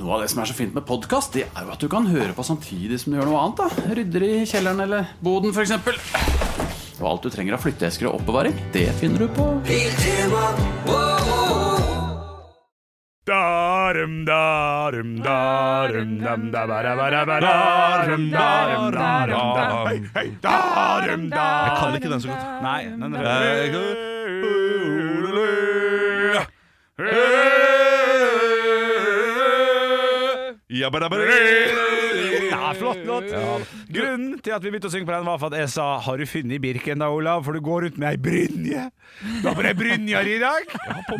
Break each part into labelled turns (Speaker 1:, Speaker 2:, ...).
Speaker 1: Noe av det som er så fint med podkast, det er jo at du kan høre på samtidig som du gjør noe annet. da Rydder i kjelleren eller boden, f.eks. Og alt du trenger av flytteesker og oppbevaring, det finner du på
Speaker 2: Darum, darum, darum, dam, da, ba, da, ba, da, ba, darum, darum, darum, darum, hei, hei, darum,
Speaker 3: Jeg
Speaker 2: darum.
Speaker 3: kan ikke den så godt.
Speaker 2: Nei, den
Speaker 3: Eh, Ja, bare, bare.
Speaker 2: Ja, flott låt. Grunnen til at vi begynte å synge på den, var for at jeg sa 'Har du funnet Birken da, Olav? For du går rundt med ei brynje'. Du har på deg brynjer i dag.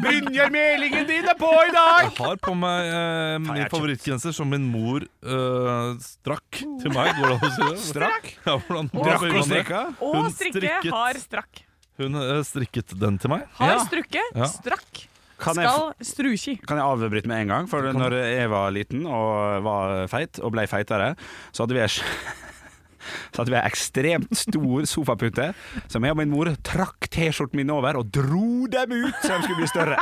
Speaker 2: Brynjermelingen din er på i dag.
Speaker 3: Jeg har på meg eh, min favorittgenser som min mor eh, strakk til meg. Går det an å si det?
Speaker 2: Strakk?
Speaker 3: Ja, hvordan,
Speaker 2: Drakk og
Speaker 3: hvordan-
Speaker 2: strikka?
Speaker 4: Og
Speaker 3: Hun
Speaker 4: strikke
Speaker 3: strikket.
Speaker 4: har strakk.
Speaker 3: Hun eh, strikket den til meg.
Speaker 4: Har
Speaker 2: Ja.
Speaker 4: strukke,
Speaker 3: Ja.
Speaker 4: strakk.
Speaker 2: Kan jeg
Speaker 4: Skal struki.
Speaker 2: Kan jeg avbryte med en gang? For når jeg var liten og var feit, og blei feitere, så hadde vi ei sj- så hadde vi ei ekstremt stor sofapute som jeg og min mor trakk T-skjorten min over og dro dem ut så de skulle bli større.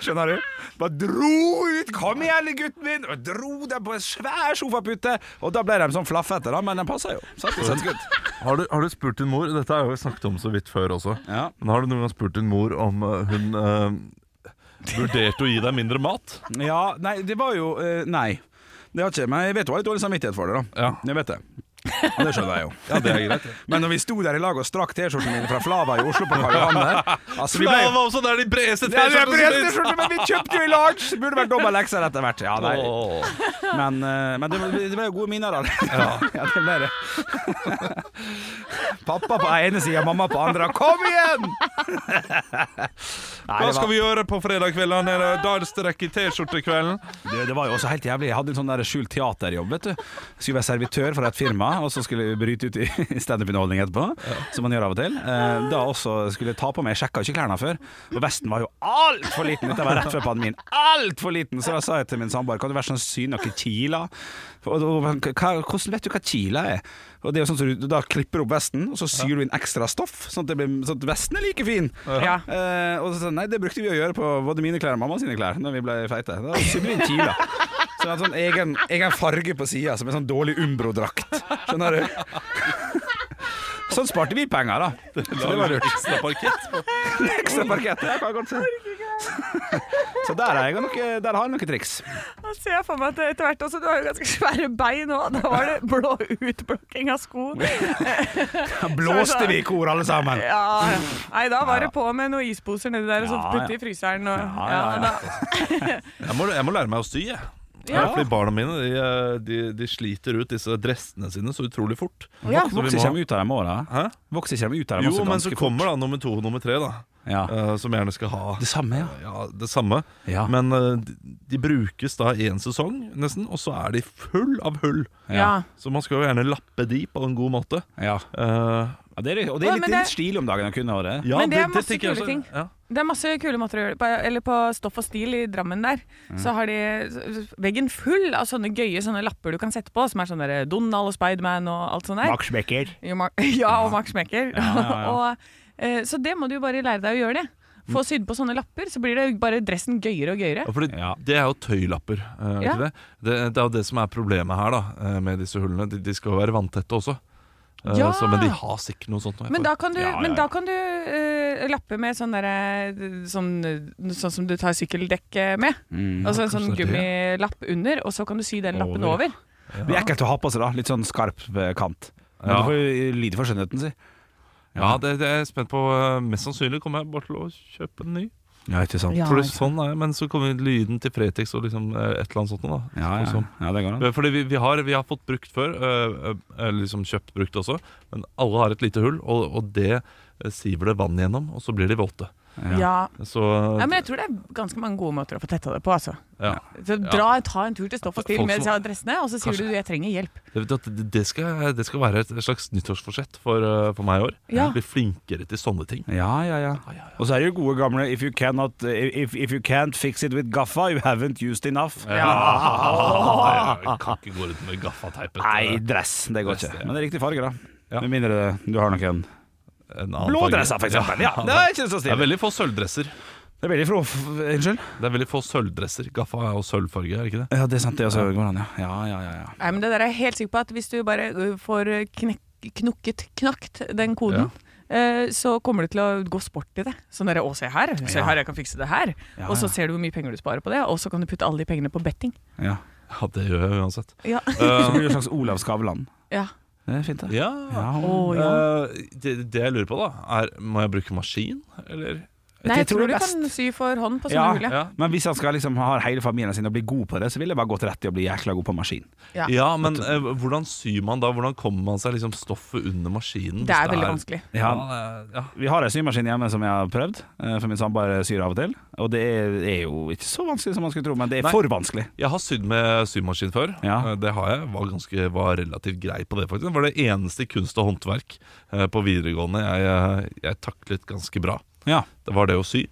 Speaker 2: Skjønner du? Bare dro ut! Kom igjen, lille gutten min! Og dro dem på en svær sofapute. Og da ble de sånn flaffete, da, men de passa jo. Satt i sett skudd.
Speaker 3: Har du, har du spurt din mor Dette har jeg jo snakket om så vidt før også.
Speaker 2: Ja.
Speaker 3: Men har du noen gang spurt din mor om eh, hun eh, vurderte å gi deg mindre mat?
Speaker 2: ja, nei, det var jo eh, Nei. Det har ikke, men jeg vet hun har litt dårlig samvittighet for det, da.
Speaker 3: Ja,
Speaker 2: Jeg vet det. Og det skjønner jeg jo.
Speaker 3: ja det er greit.
Speaker 2: Men når vi sto der i lag og strakk T-skjorten min fra Flava i Oslo på Karl Johan der altså, vi ble,
Speaker 3: Flava også, det er de bredeste
Speaker 2: ja, det er brent
Speaker 3: T-skjortene som
Speaker 2: T-skjorte, men vi kjøpte jo i large! Det Burde vært dobbel XL etter hvert. Ja, nei.
Speaker 3: Åh.
Speaker 2: Men, eh, men det, ble, det ble jo gode minner av det. Ja. det ble det. Pappa på ene sida, mamma på andre. Kom igjen! Nei,
Speaker 3: Hva
Speaker 2: det,
Speaker 3: skal
Speaker 2: var,
Speaker 3: vi gjøre på fredag kvelden? Er det Darstrekk i T-skjortekvelden?
Speaker 2: det, det var jo også helt jævlig. Jeg hadde en sånn der skjult teaterjobb. vet du Skulle være servitør for et firma, og så skulle jeg bryte ut i standup-underholdning etterpå. Som man gjør av og til. Eh, Da også skulle jeg ta på meg Jeg sjekka ikke klærne før. Og vesten var jo altfor liten! Dette var rett før pandemien. Altfor liten! Så da sa jeg til min samboer Kan du være sånn syn noen kiler? For- og- og- hva- Hvordan vet du hva kiler er? Og det er jo sånn som du Da klipper du opp vesten, og så syr du inn ekstra stoff, sånn at, det blir, sånn at vesten er like fin.
Speaker 4: Ja.
Speaker 2: Eh, og så sa jeg, Nei, det brukte vi å gjøre på både mine klær og mamma sine klær Når vi ble feite. Da sydde vi inn kiler. Så det er en sånn egen, egen farge på sida, som en sånn dårlig Umbro-drakt. Skjønner du? Sånn sparte vi penger, da. Så det var lurt.
Speaker 3: Ekstra parkett.
Speaker 2: Ekstra parkett. Jeg kan godt se. Så der, er jeg noe, der har jeg noen triks.
Speaker 4: Da ser jeg for meg at etter hvert også, Du har jo ganske svære bein òg. Da var det blå utblokking av sko.
Speaker 2: Da blåste vi i kor, alle sammen.
Speaker 4: Ja, ja. Nei, da var det på med noen isposer nedi der og så
Speaker 2: Ja, ja.
Speaker 4: putte i fryseren. Og,
Speaker 2: Ja,
Speaker 4: ja,
Speaker 2: ja, ja.
Speaker 4: da-
Speaker 3: Jeg må, jeg må lære meg å sy, jeg.
Speaker 4: Ja.
Speaker 3: Fordi barna mine de, eh, de, de sliter ut disse dressene sine så utrolig fort.
Speaker 4: Ja.
Speaker 3: Så vi
Speaker 2: Vokser ikke
Speaker 3: må,
Speaker 2: de ut av dem òg, da?
Speaker 3: hæ?
Speaker 2: Vokser ikke de ut av dem
Speaker 3: Jo,
Speaker 2: også
Speaker 3: men så
Speaker 2: ganske fort?
Speaker 3: kommer da nummer to og nummer tre, da.
Speaker 2: ja.
Speaker 3: eh, som gjerne skal ha
Speaker 2: Det samme, ja.
Speaker 3: ja, det samme.
Speaker 2: Ja.
Speaker 3: Men eh, de, de brukes da én sesong, nesten, og så er de full av hull.
Speaker 4: ja.
Speaker 3: Så man skal jo gjerne lappe de på en god måte.
Speaker 2: ja.
Speaker 3: Eh,
Speaker 2: Ja, det er, og det
Speaker 4: Ja,
Speaker 2: er litt,
Speaker 4: men det-
Speaker 2: litt stil om dagen å kunne ha det.
Speaker 3: ja,
Speaker 4: Men det er masse
Speaker 3: tenker jeg
Speaker 4: kule
Speaker 3: også.
Speaker 4: ting.
Speaker 3: Ja.
Speaker 4: Det er masse kule måter å gjøre det på. Eller på Stoff og stil i Drammen der. Så har de veggen full av sånne gøye sånne lapper du kan sette på, som er sånn der Donald og Spiderman og alt sånt der.
Speaker 2: Max Becker.
Speaker 4: Jo, Mar- Ja, og Max Mekker.
Speaker 2: Ja, ja, ja.
Speaker 4: og, eh, så det må du jo bare lære deg å gjøre, det. Få sydd på sånne lapper, så blir det jo bare dressen gøyere og gøyere.
Speaker 3: Ja, fordi
Speaker 2: Ja.
Speaker 3: Det er jo tøylapper. eh,
Speaker 4: Ja.
Speaker 3: ikke det? Det, det er jo det som er problemet her da eh, med disse hullene. De, de skal jo være vanntette også. Eh,
Speaker 4: Ja.
Speaker 3: så, men de har sikkert noe sånt. nå, jeg
Speaker 4: Men da
Speaker 3: bare-
Speaker 4: kan du,
Speaker 2: Ja, ja,
Speaker 4: men
Speaker 2: ja.
Speaker 4: da kan du eh, lappe med sånn derre sånn, sånn som du tar sykkeldekk med. altså en sånn
Speaker 3: kanskje det
Speaker 4: gummilapp under, og så kan du sy den lappen
Speaker 2: Over.
Speaker 4: over.
Speaker 2: Det blir ekkelt å ha på seg, da. Litt sånn skarp eh, kant. Men
Speaker 3: Ja.
Speaker 2: Du får jo lide for skjønnheten, si.
Speaker 3: ja, det, det er jeg spent på. Eh, Mest sannsynlig kommer jeg bare til å kjøpe en ny.
Speaker 2: Ja, ikke sant.
Speaker 4: Ja,
Speaker 3: For det,
Speaker 4: ikke
Speaker 3: sånn er jeg, Men så kommer lyden til Fretex og liksom eh, et eller annet sånt. nå, Da.
Speaker 2: Ja, ja.
Speaker 3: Som-
Speaker 2: ja, det går an.
Speaker 3: Eh, Fordi vi, vi, har, vi har fått brukt før, eh, eh, liksom kjøpt brukt også, men alle har et lite hull, og, og det eh, siver det vann gjennom, og så blir de våte.
Speaker 4: Ja.
Speaker 3: Så
Speaker 4: Ja, men jeg tror det er ganske mange gode måter å få tetta det på, altså.
Speaker 3: ja.
Speaker 4: Så dra, ta en tur til Stoff og Stil
Speaker 3: Folk
Speaker 4: med disse
Speaker 3: som-
Speaker 4: dressene, og så sier du 'jeg trenger hjelp'.
Speaker 3: Det, det, det, skal, det skal være et slags nyttårsforsett for, eh, for meg i år.
Speaker 4: Ja.
Speaker 3: Bli flinkere til sånne ting.
Speaker 2: Ja, ja, ja. Og så er det jo gode gamle If you, cannot, if, if you can't fix it with gaffa, you haven't used enough.
Speaker 3: Jeg kan ikke gå rundt med gaffateipet. eh,
Speaker 2: Nei, dress. Det går ikke. Men det er riktig farge, da.
Speaker 3: Ja.
Speaker 2: Med mindre det- du har noen
Speaker 3: En annen
Speaker 2: blå
Speaker 3: farge.
Speaker 2: dresser, for eksempel. Ja, det er ikke så
Speaker 3: Det er
Speaker 2: stilig.
Speaker 3: veldig få sølvdresser.
Speaker 2: Det er veldig fro... f- Unnskyld?
Speaker 3: Det er veldig få sølvdresser. Gaffa er jo sølvfarge, er det ikke det?
Speaker 2: Ja, det er sant, det også går an, ja. Ja, ja, ja, ja.
Speaker 4: Nei, men det der er jeg helt sikker på at hvis du bare ø, får knek knukket, knakt den koden, eh, så kommer du til å gå sport i det. Sånn derre 'Å, se her, se
Speaker 2: Ja.
Speaker 4: her, jeg kan fikse det her'.
Speaker 2: Ja,
Speaker 4: og så
Speaker 2: ja.
Speaker 4: ser du hvor mye penger du sparer på det, og så kan du putte alle de pengene på betting.
Speaker 2: ja.
Speaker 3: Ja, det gjør jeg uansett.
Speaker 4: Ja.
Speaker 2: Så
Speaker 3: Eh,
Speaker 2: blir du en slags Olav Skavlan.
Speaker 4: ja.
Speaker 2: Det er fint, det.
Speaker 3: ja,
Speaker 2: Ja.
Speaker 4: Å, ja.
Speaker 3: Eh, det, det jeg lurer på, da, er Må jeg bruke maskin, eller?
Speaker 4: Nei, jeg tror
Speaker 2: tror det
Speaker 4: du
Speaker 2: er
Speaker 4: kan sy for hånd på
Speaker 2: Ja.
Speaker 4: sånne hule.
Speaker 3: Ja.
Speaker 2: Men hvis han skal liksom ha hele familien sin og bli god på det, så ville jeg bare gått rett i å bli jækla god på maskin.
Speaker 4: Ja.
Speaker 3: Ja, men eh, hvordan syr man da? Hvordan kommer man seg liksom stoffet under maskinen?
Speaker 4: Det
Speaker 3: hvis
Speaker 4: er veldig vanskelig.
Speaker 2: Ja,
Speaker 3: Ja, det er- ja.
Speaker 2: Vi har ei symaskin hjemme som jeg har prøvd, eh, for min samboer syr av og til. Og det er- er jo ikke så vanskelig som man skulle tro, men det er
Speaker 3: Nei.
Speaker 2: for vanskelig.
Speaker 3: Jeg har sydd med symaskin før.
Speaker 2: Ja.
Speaker 3: Eh, Det har jeg. Var, ganske, var relativt grei på det, faktisk. Det var det eneste kunst og håndverk eh, på videregående jeg, eh, jeg taklet ganske bra.
Speaker 2: Ja.
Speaker 3: Det var det å sy.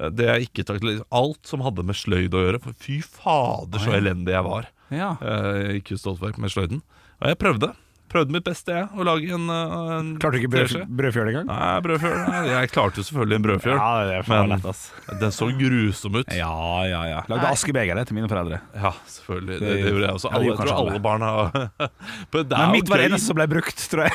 Speaker 3: Eh, Det jeg ikke taklet Alt som hadde med sløyd å gjøre. For fy fader, så
Speaker 2: Ah, ja.
Speaker 3: elendig jeg var
Speaker 2: Ja.
Speaker 3: eh, i kunst og håndverk med sløyden. Og jeg prøvde. Prøvde mitt beste, jeg, å lage en, eh, en
Speaker 2: Klarte du ikke
Speaker 3: teskje.
Speaker 2: brød, brødfjøl engang?
Speaker 3: Nei, brødfjøl. Nei, Jeg klarte jo selvfølgelig en brødfjøl.
Speaker 2: det er
Speaker 3: Men-
Speaker 2: ass.
Speaker 3: Den så grusom ut.
Speaker 2: Ja, ja, ja. Lagde
Speaker 4: Nei.
Speaker 2: askebegeret til mine foreldre.
Speaker 3: Ja, selvfølgelig. Det,
Speaker 2: Det-
Speaker 3: det gjorde jeg også.
Speaker 2: Ja, det
Speaker 3: Alle,
Speaker 2: gjorde
Speaker 3: jeg tror
Speaker 2: kanskje alle.
Speaker 3: alle barn har Men det er,
Speaker 2: Men
Speaker 3: jo
Speaker 2: mitt var det
Speaker 3: gøy.
Speaker 2: eneste som ble brukt, tror jeg.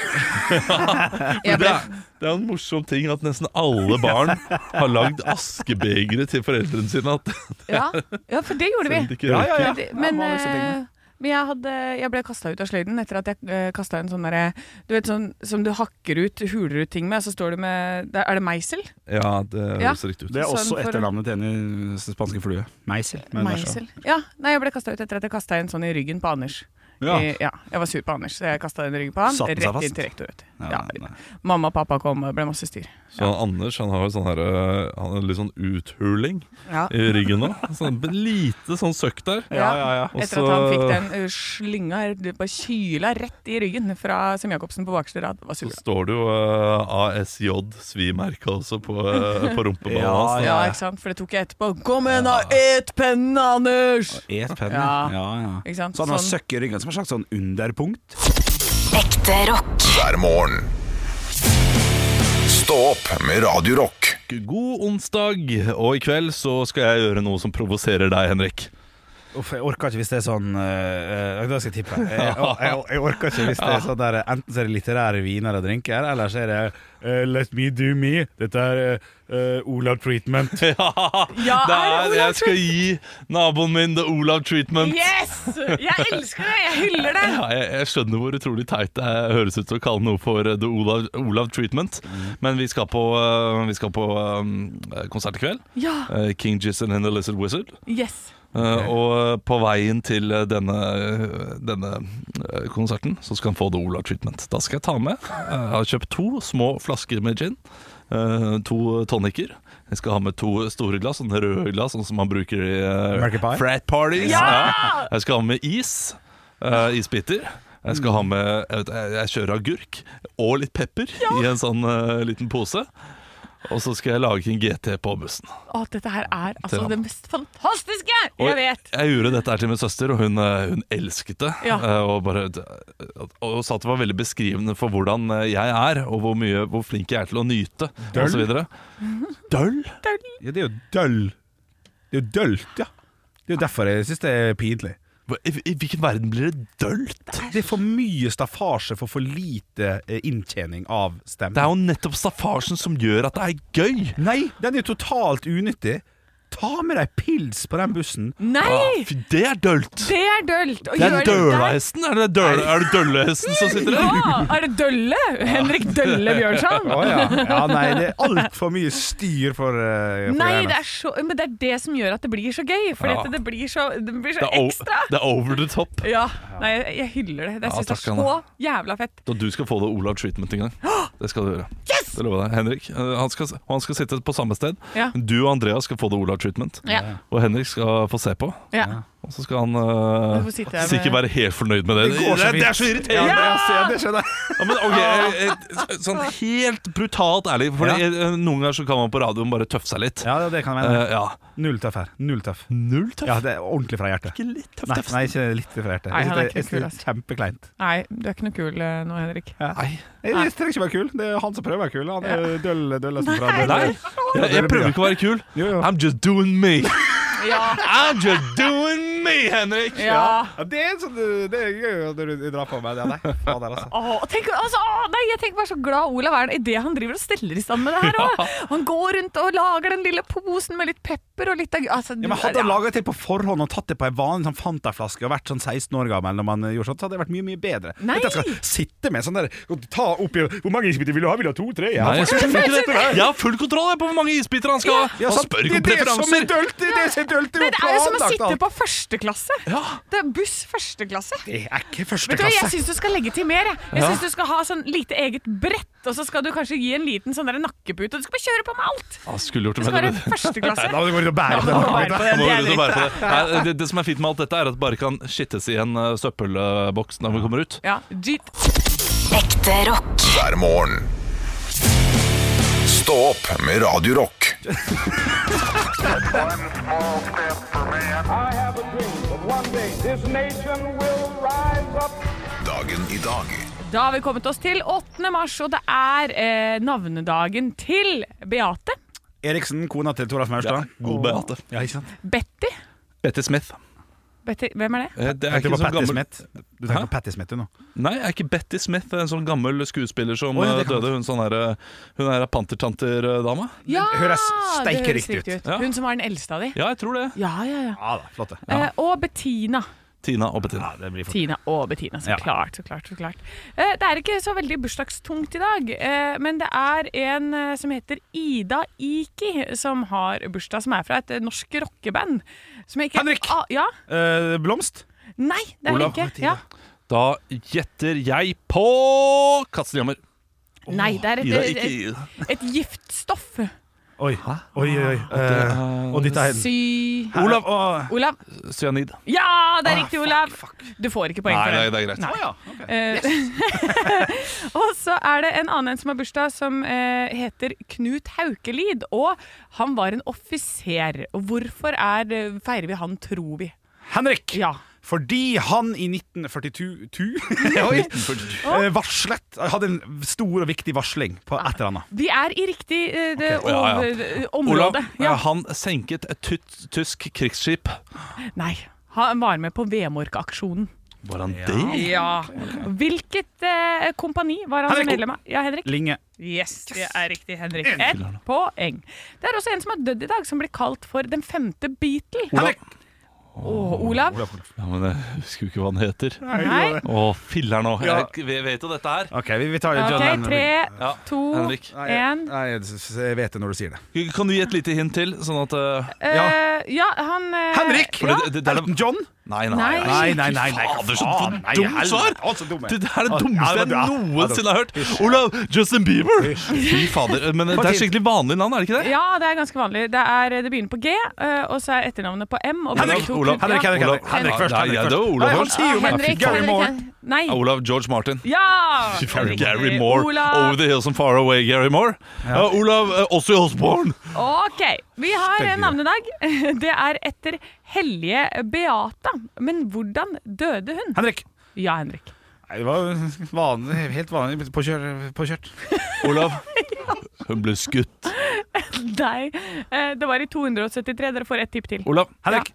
Speaker 4: Jeg
Speaker 3: det,
Speaker 4: ble,
Speaker 3: er, det er jo en morsom ting at nesten alle barn har lagd askebegre til foreldrene sine. At
Speaker 4: ja. ja, for det gjorde vi.
Speaker 3: de ikke
Speaker 2: Ja, ja, ja.
Speaker 4: Men, det- men,
Speaker 2: Ja, hva var det som
Speaker 4: eh, men jeg, hadde, jeg ble kasta ut av sløyden etter at jeg kasta en sånn derre Du vet sånn som du hakker ut, huler ut ting med, så står du med der, Er det meisel?
Speaker 3: Ja, det
Speaker 4: Ja.
Speaker 3: høres riktig ut.
Speaker 2: Det er
Speaker 4: Sånn
Speaker 2: også
Speaker 4: for-
Speaker 2: etternavnet til en i spanske flue. Meisel. men vær så god.
Speaker 4: Meisel. Ja. Nei, jeg ble kasta ut etter at jeg kasta en sånn i ryggen på Anders.
Speaker 2: Ja.
Speaker 4: I, ja, jeg var sur på Anders, så jeg kasta den i ryggen på han.
Speaker 2: Satte den seg
Speaker 4: Rett
Speaker 2: fast?
Speaker 4: inn til rektor. vet du.
Speaker 2: Ja, eh,
Speaker 4: Ja.
Speaker 2: nei.
Speaker 4: Mamma og pappa kom, og det ble masse styr.
Speaker 3: Så Anders han har jo sånn her, øh, han har litt sånn uthuling
Speaker 4: Ja.
Speaker 3: i ryggen nå. Sånn lite sånn søkk der.
Speaker 2: ja, ja, ja.
Speaker 3: Og
Speaker 4: Etter
Speaker 3: så-
Speaker 4: at han fikk den uh, slynga, du bare kyla rett i ryggen fra Sem Jacobsen på bakerste rad. Det var
Speaker 3: Så
Speaker 4: super.
Speaker 3: står det jo øh, ASJ-svimerket også på, øh, på rumpeballen
Speaker 2: Ja,
Speaker 3: hans.
Speaker 4: Ja, ikke sant? For det tok jeg etterpå. Kom igjen, da! Et pennen, Anders!
Speaker 2: Et penn,
Speaker 4: Ja.
Speaker 2: ja. ja, ja.
Speaker 4: Ikke sant?
Speaker 2: Så han har
Speaker 4: Sånn.
Speaker 2: søkk i ryggen som en slags sånn underpunkt.
Speaker 5: Ekte rock.
Speaker 6: hver morgen. Stå opp med Radio Rock.
Speaker 3: God onsdag, og i kveld så skal jeg gjøre noe som provoserer deg, Henrik.
Speaker 2: Uff, jeg orker ikke hvis det er sånn eh, eh, Da skal jeg tippe. Jeg, jeg, jeg orker ikke hvis det er sånn der Enten så er det litterære viner og drinker, eller så er det eh, Let me do me. Dette er eh, eh, Olav treatment.
Speaker 3: Ja,
Speaker 4: Ja, er
Speaker 3: det er,
Speaker 4: det Olav
Speaker 3: jeg skal gi naboen min the Olav treatment.
Speaker 4: Yes! Jeg elsker det! Jeg hyller det!
Speaker 3: Ja, jeg, jeg skjønner hvor utrolig teit det er- høres ut å kalle noe for eh, the Olav, Olav treatment. Men vi skal på, eh, vi skal på eh, konsert i kveld.
Speaker 4: Ja,
Speaker 3: Eh, King Jizzon and the Lizard Wizard.
Speaker 4: yes.
Speaker 3: Eh, Og på veien til eh, denne, denne eh, konserten så skal han få The Olav Treatment. Da skal jeg ta med. eh, Jeg har kjøpt to små flasker med gin. eh, To tonicer. Jeg skal ha med to store glass, sånne røde glass, sånn som man bruker i eh,
Speaker 2: American pie?
Speaker 3: frat parties. Ja! Jeg skal ha med is. eh, Isbiter. Jeg skal ha med Jeg, vet, jeg- jeg kjører agurk og litt pepper i en sånn eh, liten pose. Og så skal jeg lage en GT på bussen.
Speaker 4: Å, dette her er altså
Speaker 3: Drama.
Speaker 4: det mest fantastiske
Speaker 3: Og
Speaker 4: jeg vet!
Speaker 3: Jeg gjorde dette her til min søster, og hun, eh, hun elsket det.
Speaker 4: Ja.
Speaker 3: Eh, Og, bare, og, og sa at det var veldig beskrivende for hvordan eh, jeg er, og hvor, mye, hvor flink jeg er til å nyte.
Speaker 2: Døll?
Speaker 3: Og så videre. Døll?
Speaker 2: Ja, det er jo døll. Det er jo dølt, ja. Det er jo derfor jeg syns det er pinlig.
Speaker 3: Hva- I, I hvilken verden blir det dølt?
Speaker 2: Det er for mye staffasje for for lite eh, inntjening av
Speaker 3: Det er
Speaker 2: stemmen.
Speaker 3: jo nettopp staffasjen som gjør at det er gøy.
Speaker 2: Nei, den er jo totalt unyttig. Ta med deg pils på den bussen.
Speaker 4: Nei!
Speaker 3: Fy, det er dølt!
Speaker 4: Det er dølt! å
Speaker 3: Det er
Speaker 4: gjøre der.
Speaker 3: dølehesten! Er det, døle, er det dølehesten som sitter der?
Speaker 4: Ja, er det Dølle? Henrik Dølle Bjørnson?
Speaker 2: Å ja. ja. Nei, det er altfor mye styr for, eh, for
Speaker 4: Nei,
Speaker 2: hjernen.
Speaker 4: det er, så, men det er det som gjør at det blir så gøy. Fordi
Speaker 3: Ja.
Speaker 4: at det blir så, det blir
Speaker 3: Det
Speaker 4: så
Speaker 3: er,
Speaker 4: ekstra.
Speaker 3: o- det er over the top.
Speaker 4: Ja, nei, jeg, jeg hyller det. Jeg
Speaker 3: Ja,
Speaker 4: syns
Speaker 3: takk,
Speaker 4: det er så jævla fett.
Speaker 3: Da du skal få det Olav treatment en gang. Det skal du gjøre. Det lover jeg deg. Henrik. eh, Han skal, og han skal sitte på samme sted.
Speaker 4: Ja.
Speaker 3: Du og Andreas skal få det Olav treatment.
Speaker 4: Ja.
Speaker 3: Og Henrik skal få se på.
Speaker 4: Ja.
Speaker 3: Og så skal han eh,
Speaker 4: Hvorfor sitter jeg med-
Speaker 3: sikkert være helt fornøyd med det. Det,
Speaker 2: går så
Speaker 3: det,
Speaker 2: vidt.
Speaker 3: er så irriterende!
Speaker 2: Ja, det, ser- det skjønner jeg.
Speaker 3: Ja, men ok, eh, eh, Sånn helt brutalt ærlig, for
Speaker 2: Ja.
Speaker 3: det- eh, noen ganger så kan man på radioen bare tøffe seg litt.
Speaker 2: Ja, det- det kan jeg mene.
Speaker 3: Eh, ja.
Speaker 2: Null tøff her. Null tøff.
Speaker 3: Null tøff?
Speaker 2: Ja, det er ordentlig fra hjertet.
Speaker 3: Ikke litt tøff,
Speaker 2: Nei,
Speaker 3: tøff.
Speaker 2: nei ikke litt fra hjertet.
Speaker 4: Nei,
Speaker 2: Jeg
Speaker 4: han er
Speaker 2: synes det-
Speaker 4: ikke kul,
Speaker 2: jeg synes det er Kjempekleint.
Speaker 4: Nei, du er ikke noe kul eh, nå, Henrik.
Speaker 3: Nei.
Speaker 2: Jeg, jeg trenger ikke være kul. Det er han som prøver å være kul. Han er døll, døllesen fra døll.
Speaker 3: Nei, jeg, jeg prøver ikke å være kul.
Speaker 2: Jo, jo.
Speaker 3: I'm just doing me.
Speaker 4: Ja,
Speaker 3: I'm just doing me, Henrik!
Speaker 4: ja.
Speaker 2: Ja, det er sånn du- Det er gøy når du- du drar på meg. Ja, nei, fader, altså.
Speaker 4: Åh, tenk, altså, åh, nei, jeg tenker bare så glad Olav er i det han driver og steller i stand med det her. også. Han går rundt og lager den lille posen med litt pepper og litt av altså,
Speaker 2: Ja, men Hadde han laga det til på forhånd og tatt det på ei vanlig sånn Fanta-flaske og vært sånn 16 år gammel, når man eh, gjorde sånt, så hadde det vært mye mye bedre.
Speaker 4: Nei!
Speaker 2: Dette skal sitte med sånn der og ta oppi Hvor mange isbiter vil du ha? Vil du ha to? Tre? Ja,
Speaker 3: Nei, jeg, skal ikke dette der. jeg har full kontroll jeg, på hvor mange isbiter han skal ha.
Speaker 2: Ja,
Speaker 3: Han
Speaker 2: sant.
Speaker 3: spør
Speaker 2: det,
Speaker 3: ikke om
Speaker 2: det er som
Speaker 3: preferanser.
Speaker 2: en dølt, det, det er som dølt,
Speaker 4: det er jo som å
Speaker 2: planlagt
Speaker 4: sitte
Speaker 2: alt.
Speaker 4: på førsteklasse.
Speaker 3: Ja.
Speaker 4: Det er buss førsteklasse.
Speaker 2: Det er ikke
Speaker 4: Vet
Speaker 2: første
Speaker 4: du hva, Jeg
Speaker 2: klasse.
Speaker 4: syns du skal legge til mer. Jeg, jeg
Speaker 3: Ja.
Speaker 4: synes Du skal ha sånn lite eget brett, og så skal du kanskje gi en liten sånn der nakkepute. Og du skal bare kjøre på med alt!
Speaker 3: Han skulle gjort
Speaker 4: Du
Speaker 3: det
Speaker 4: skal være
Speaker 3: bedre.
Speaker 4: førsteklasse.
Speaker 2: Da må du gå ut og bære på den. nakkebiten.
Speaker 3: Han må ut og bære på det. Nei, det, det som er fint med alt dette, er at det bare kan skittes i en eh, søppelboks når vi kommer ut.
Speaker 4: Ja, jeet.
Speaker 5: Ekte rock.
Speaker 6: hver morgen. Stå opp med Radio Rock.
Speaker 7: I have a dream that one day this nation will rise up.
Speaker 6: Dagen i dag
Speaker 4: Da har vi kommet oss til 8. mars, og det er eh, navnedagen til Beate.
Speaker 2: Eriksen, kona til Toralf Maurstad.
Speaker 3: God Beate.
Speaker 2: Ja, ikke sant?
Speaker 4: Betty.
Speaker 3: Betty Smith.
Speaker 4: Betty. Hvem er det?
Speaker 3: Eh, Det er
Speaker 2: Det
Speaker 3: ikke
Speaker 2: var
Speaker 3: sånn
Speaker 2: Patti
Speaker 3: gammel
Speaker 2: Smith. Du tenker
Speaker 3: Hæ?
Speaker 2: på Patti Smith, du nå.
Speaker 3: Nei, er ikke Betty Smith en sånn gammel skuespiller som
Speaker 2: Å, ja,
Speaker 3: eh,
Speaker 2: det kan
Speaker 3: døde? Hun sånn her, eh, Hun er pantertanter-dame?
Speaker 4: Ja!
Speaker 2: høres
Speaker 4: det
Speaker 2: steike
Speaker 4: høres
Speaker 2: riktig ut.
Speaker 3: Ja.
Speaker 4: Hun som var den eldste av de.
Speaker 3: Ja, jeg tror det.
Speaker 4: Ja, ja, ja.
Speaker 2: Ja da, flott det.
Speaker 4: Eh, og Bettina.
Speaker 3: Tina og Bettina.
Speaker 2: Ja, det blir fort.
Speaker 4: Tina og Bettina, så
Speaker 2: Ja.
Speaker 4: klart. så klart, så klart. Eh, det er ikke så veldig bursdagstungt i dag, eh, men det er en eh, som heter Ida Iki, som har bursdag, som er fra et eh, norsk rockeband. Som jeg ikke,
Speaker 2: Henrik!
Speaker 4: Ah, ja?
Speaker 2: Eh, blomst?
Speaker 4: Nei, det er det
Speaker 2: Olav,
Speaker 4: ikke.
Speaker 2: Ida.
Speaker 4: Ja.
Speaker 3: Da gjetter jeg på Katzenjammer.
Speaker 4: Nei, det er
Speaker 3: Ida,
Speaker 4: et,
Speaker 3: ikke
Speaker 4: et,
Speaker 3: Ida.
Speaker 4: et giftstoff.
Speaker 2: Oi, oi, oi. oi. Eh, og dette er
Speaker 4: Sy...
Speaker 2: Olav og
Speaker 4: Olav.
Speaker 3: Cyanid.
Speaker 4: Ja, det er riktig, Olav! Du får ikke poeng
Speaker 3: Ah,
Speaker 4: for
Speaker 3: Nei, nei,
Speaker 4: det.
Speaker 3: det er greit.
Speaker 2: ja,
Speaker 4: Eh, og så er det en annen en som har bursdag, som eh, heter Knut Haukelid. Og han var en offiser. Og Hvorfor er, eh, feirer vi han, tror vi?
Speaker 2: Henrik!
Speaker 4: Ja.
Speaker 2: Fordi han i 1942
Speaker 3: Oi.
Speaker 2: eh, varslet Hadde en stor og viktig varsling på et eller annet.
Speaker 4: Vi er i riktig eh, det,
Speaker 3: Ok. Ja, ja.
Speaker 4: over-
Speaker 3: Olav,
Speaker 4: område.
Speaker 3: eh,
Speaker 4: Ja.
Speaker 3: han senket et tyt- tysk krigsskip.
Speaker 4: Nei. Han var med på Vemork-aksjonen.
Speaker 3: Var han det?
Speaker 4: Ja. Hvilket eh, kompani var han
Speaker 2: Henrik.
Speaker 4: medlem av? Ja, Henrik?
Speaker 2: Linge.
Speaker 4: Yes, det er riktig, Henrik. Ett poeng. Det er også en som har dødd i dag, som blir kalt for Den femte Beatle.
Speaker 2: Henrik!
Speaker 4: Åh, Olav.
Speaker 3: Ja, men jeg husker jo ikke hva han heter.
Speaker 4: Nei.
Speaker 3: Å, filler nå. Jeg vi vet jo dette her.
Speaker 2: OK, vi, vi tar John
Speaker 4: Ok,
Speaker 2: Lennon.
Speaker 4: tre,
Speaker 3: Ja,
Speaker 4: to,
Speaker 3: Henrik.
Speaker 2: jeg,
Speaker 4: én.
Speaker 2: nei, jeg s- jeg vet det når du sier det.
Speaker 3: Kan du gi et lite hint til? Sånn at eh,
Speaker 2: Ja.
Speaker 4: Eh, ja, han eh,
Speaker 2: Henrik!
Speaker 3: for det, det, det er
Speaker 2: Elton John?
Speaker 3: Nei, nei.
Speaker 4: Nei.
Speaker 3: nei.
Speaker 2: Nei, nei, nei. nei.
Speaker 3: Fader, så
Speaker 2: Faen, nei,
Speaker 3: dumt
Speaker 2: helvete.
Speaker 3: svar.
Speaker 2: Altså, dumme.
Speaker 3: Det er det
Speaker 2: Ja,
Speaker 3: dummeste
Speaker 2: det
Speaker 3: jeg
Speaker 2: var- ja,
Speaker 3: noensinne har hørt. Olav, Justin Bieber! Fy fader. Men eh, det er
Speaker 2: tid.
Speaker 3: skikkelig vanlig navn, er det ikke det?
Speaker 4: Ja, det er ganske vanlig. Det, er, det begynner på G, eh, og så er etternavnet på M. Og begge
Speaker 2: Henrik,
Speaker 4: to
Speaker 3: Olav,
Speaker 4: kunne-
Speaker 2: Henrik, Henrik,
Speaker 3: Olav.
Speaker 2: Henrik, Henrik først.
Speaker 3: Nei,
Speaker 2: Henrik
Speaker 3: ja,
Speaker 2: først.
Speaker 3: det var Olav
Speaker 2: Nei, han
Speaker 3: først.
Speaker 2: sier jo
Speaker 4: Ja.
Speaker 2: meg.
Speaker 4: Henrik,
Speaker 2: Gary
Speaker 4: Henrik,
Speaker 2: Moore.
Speaker 4: Hen- Nei.
Speaker 3: Olav George Martin.
Speaker 4: Ja!
Speaker 3: Fy faen, Gary Moore. Over
Speaker 4: Olav.
Speaker 3: the hills and far away, Gary Moore. Ja. Olav uh, Ossie Osborne.
Speaker 4: OK. Vi har en
Speaker 2: Spennende.
Speaker 4: navnedag. Det er etter Hellige Beata. Men hvordan døde hun?
Speaker 2: Henrik.
Speaker 4: Ja, Henrik.
Speaker 2: Nei, det var vanlig, helt vanlig påkjør- påkjørt.
Speaker 3: Olav. Hun ble skutt.
Speaker 4: Nei. eh, Det var i 273. Dere får ett tipp til.
Speaker 3: Olav.
Speaker 2: Henrik.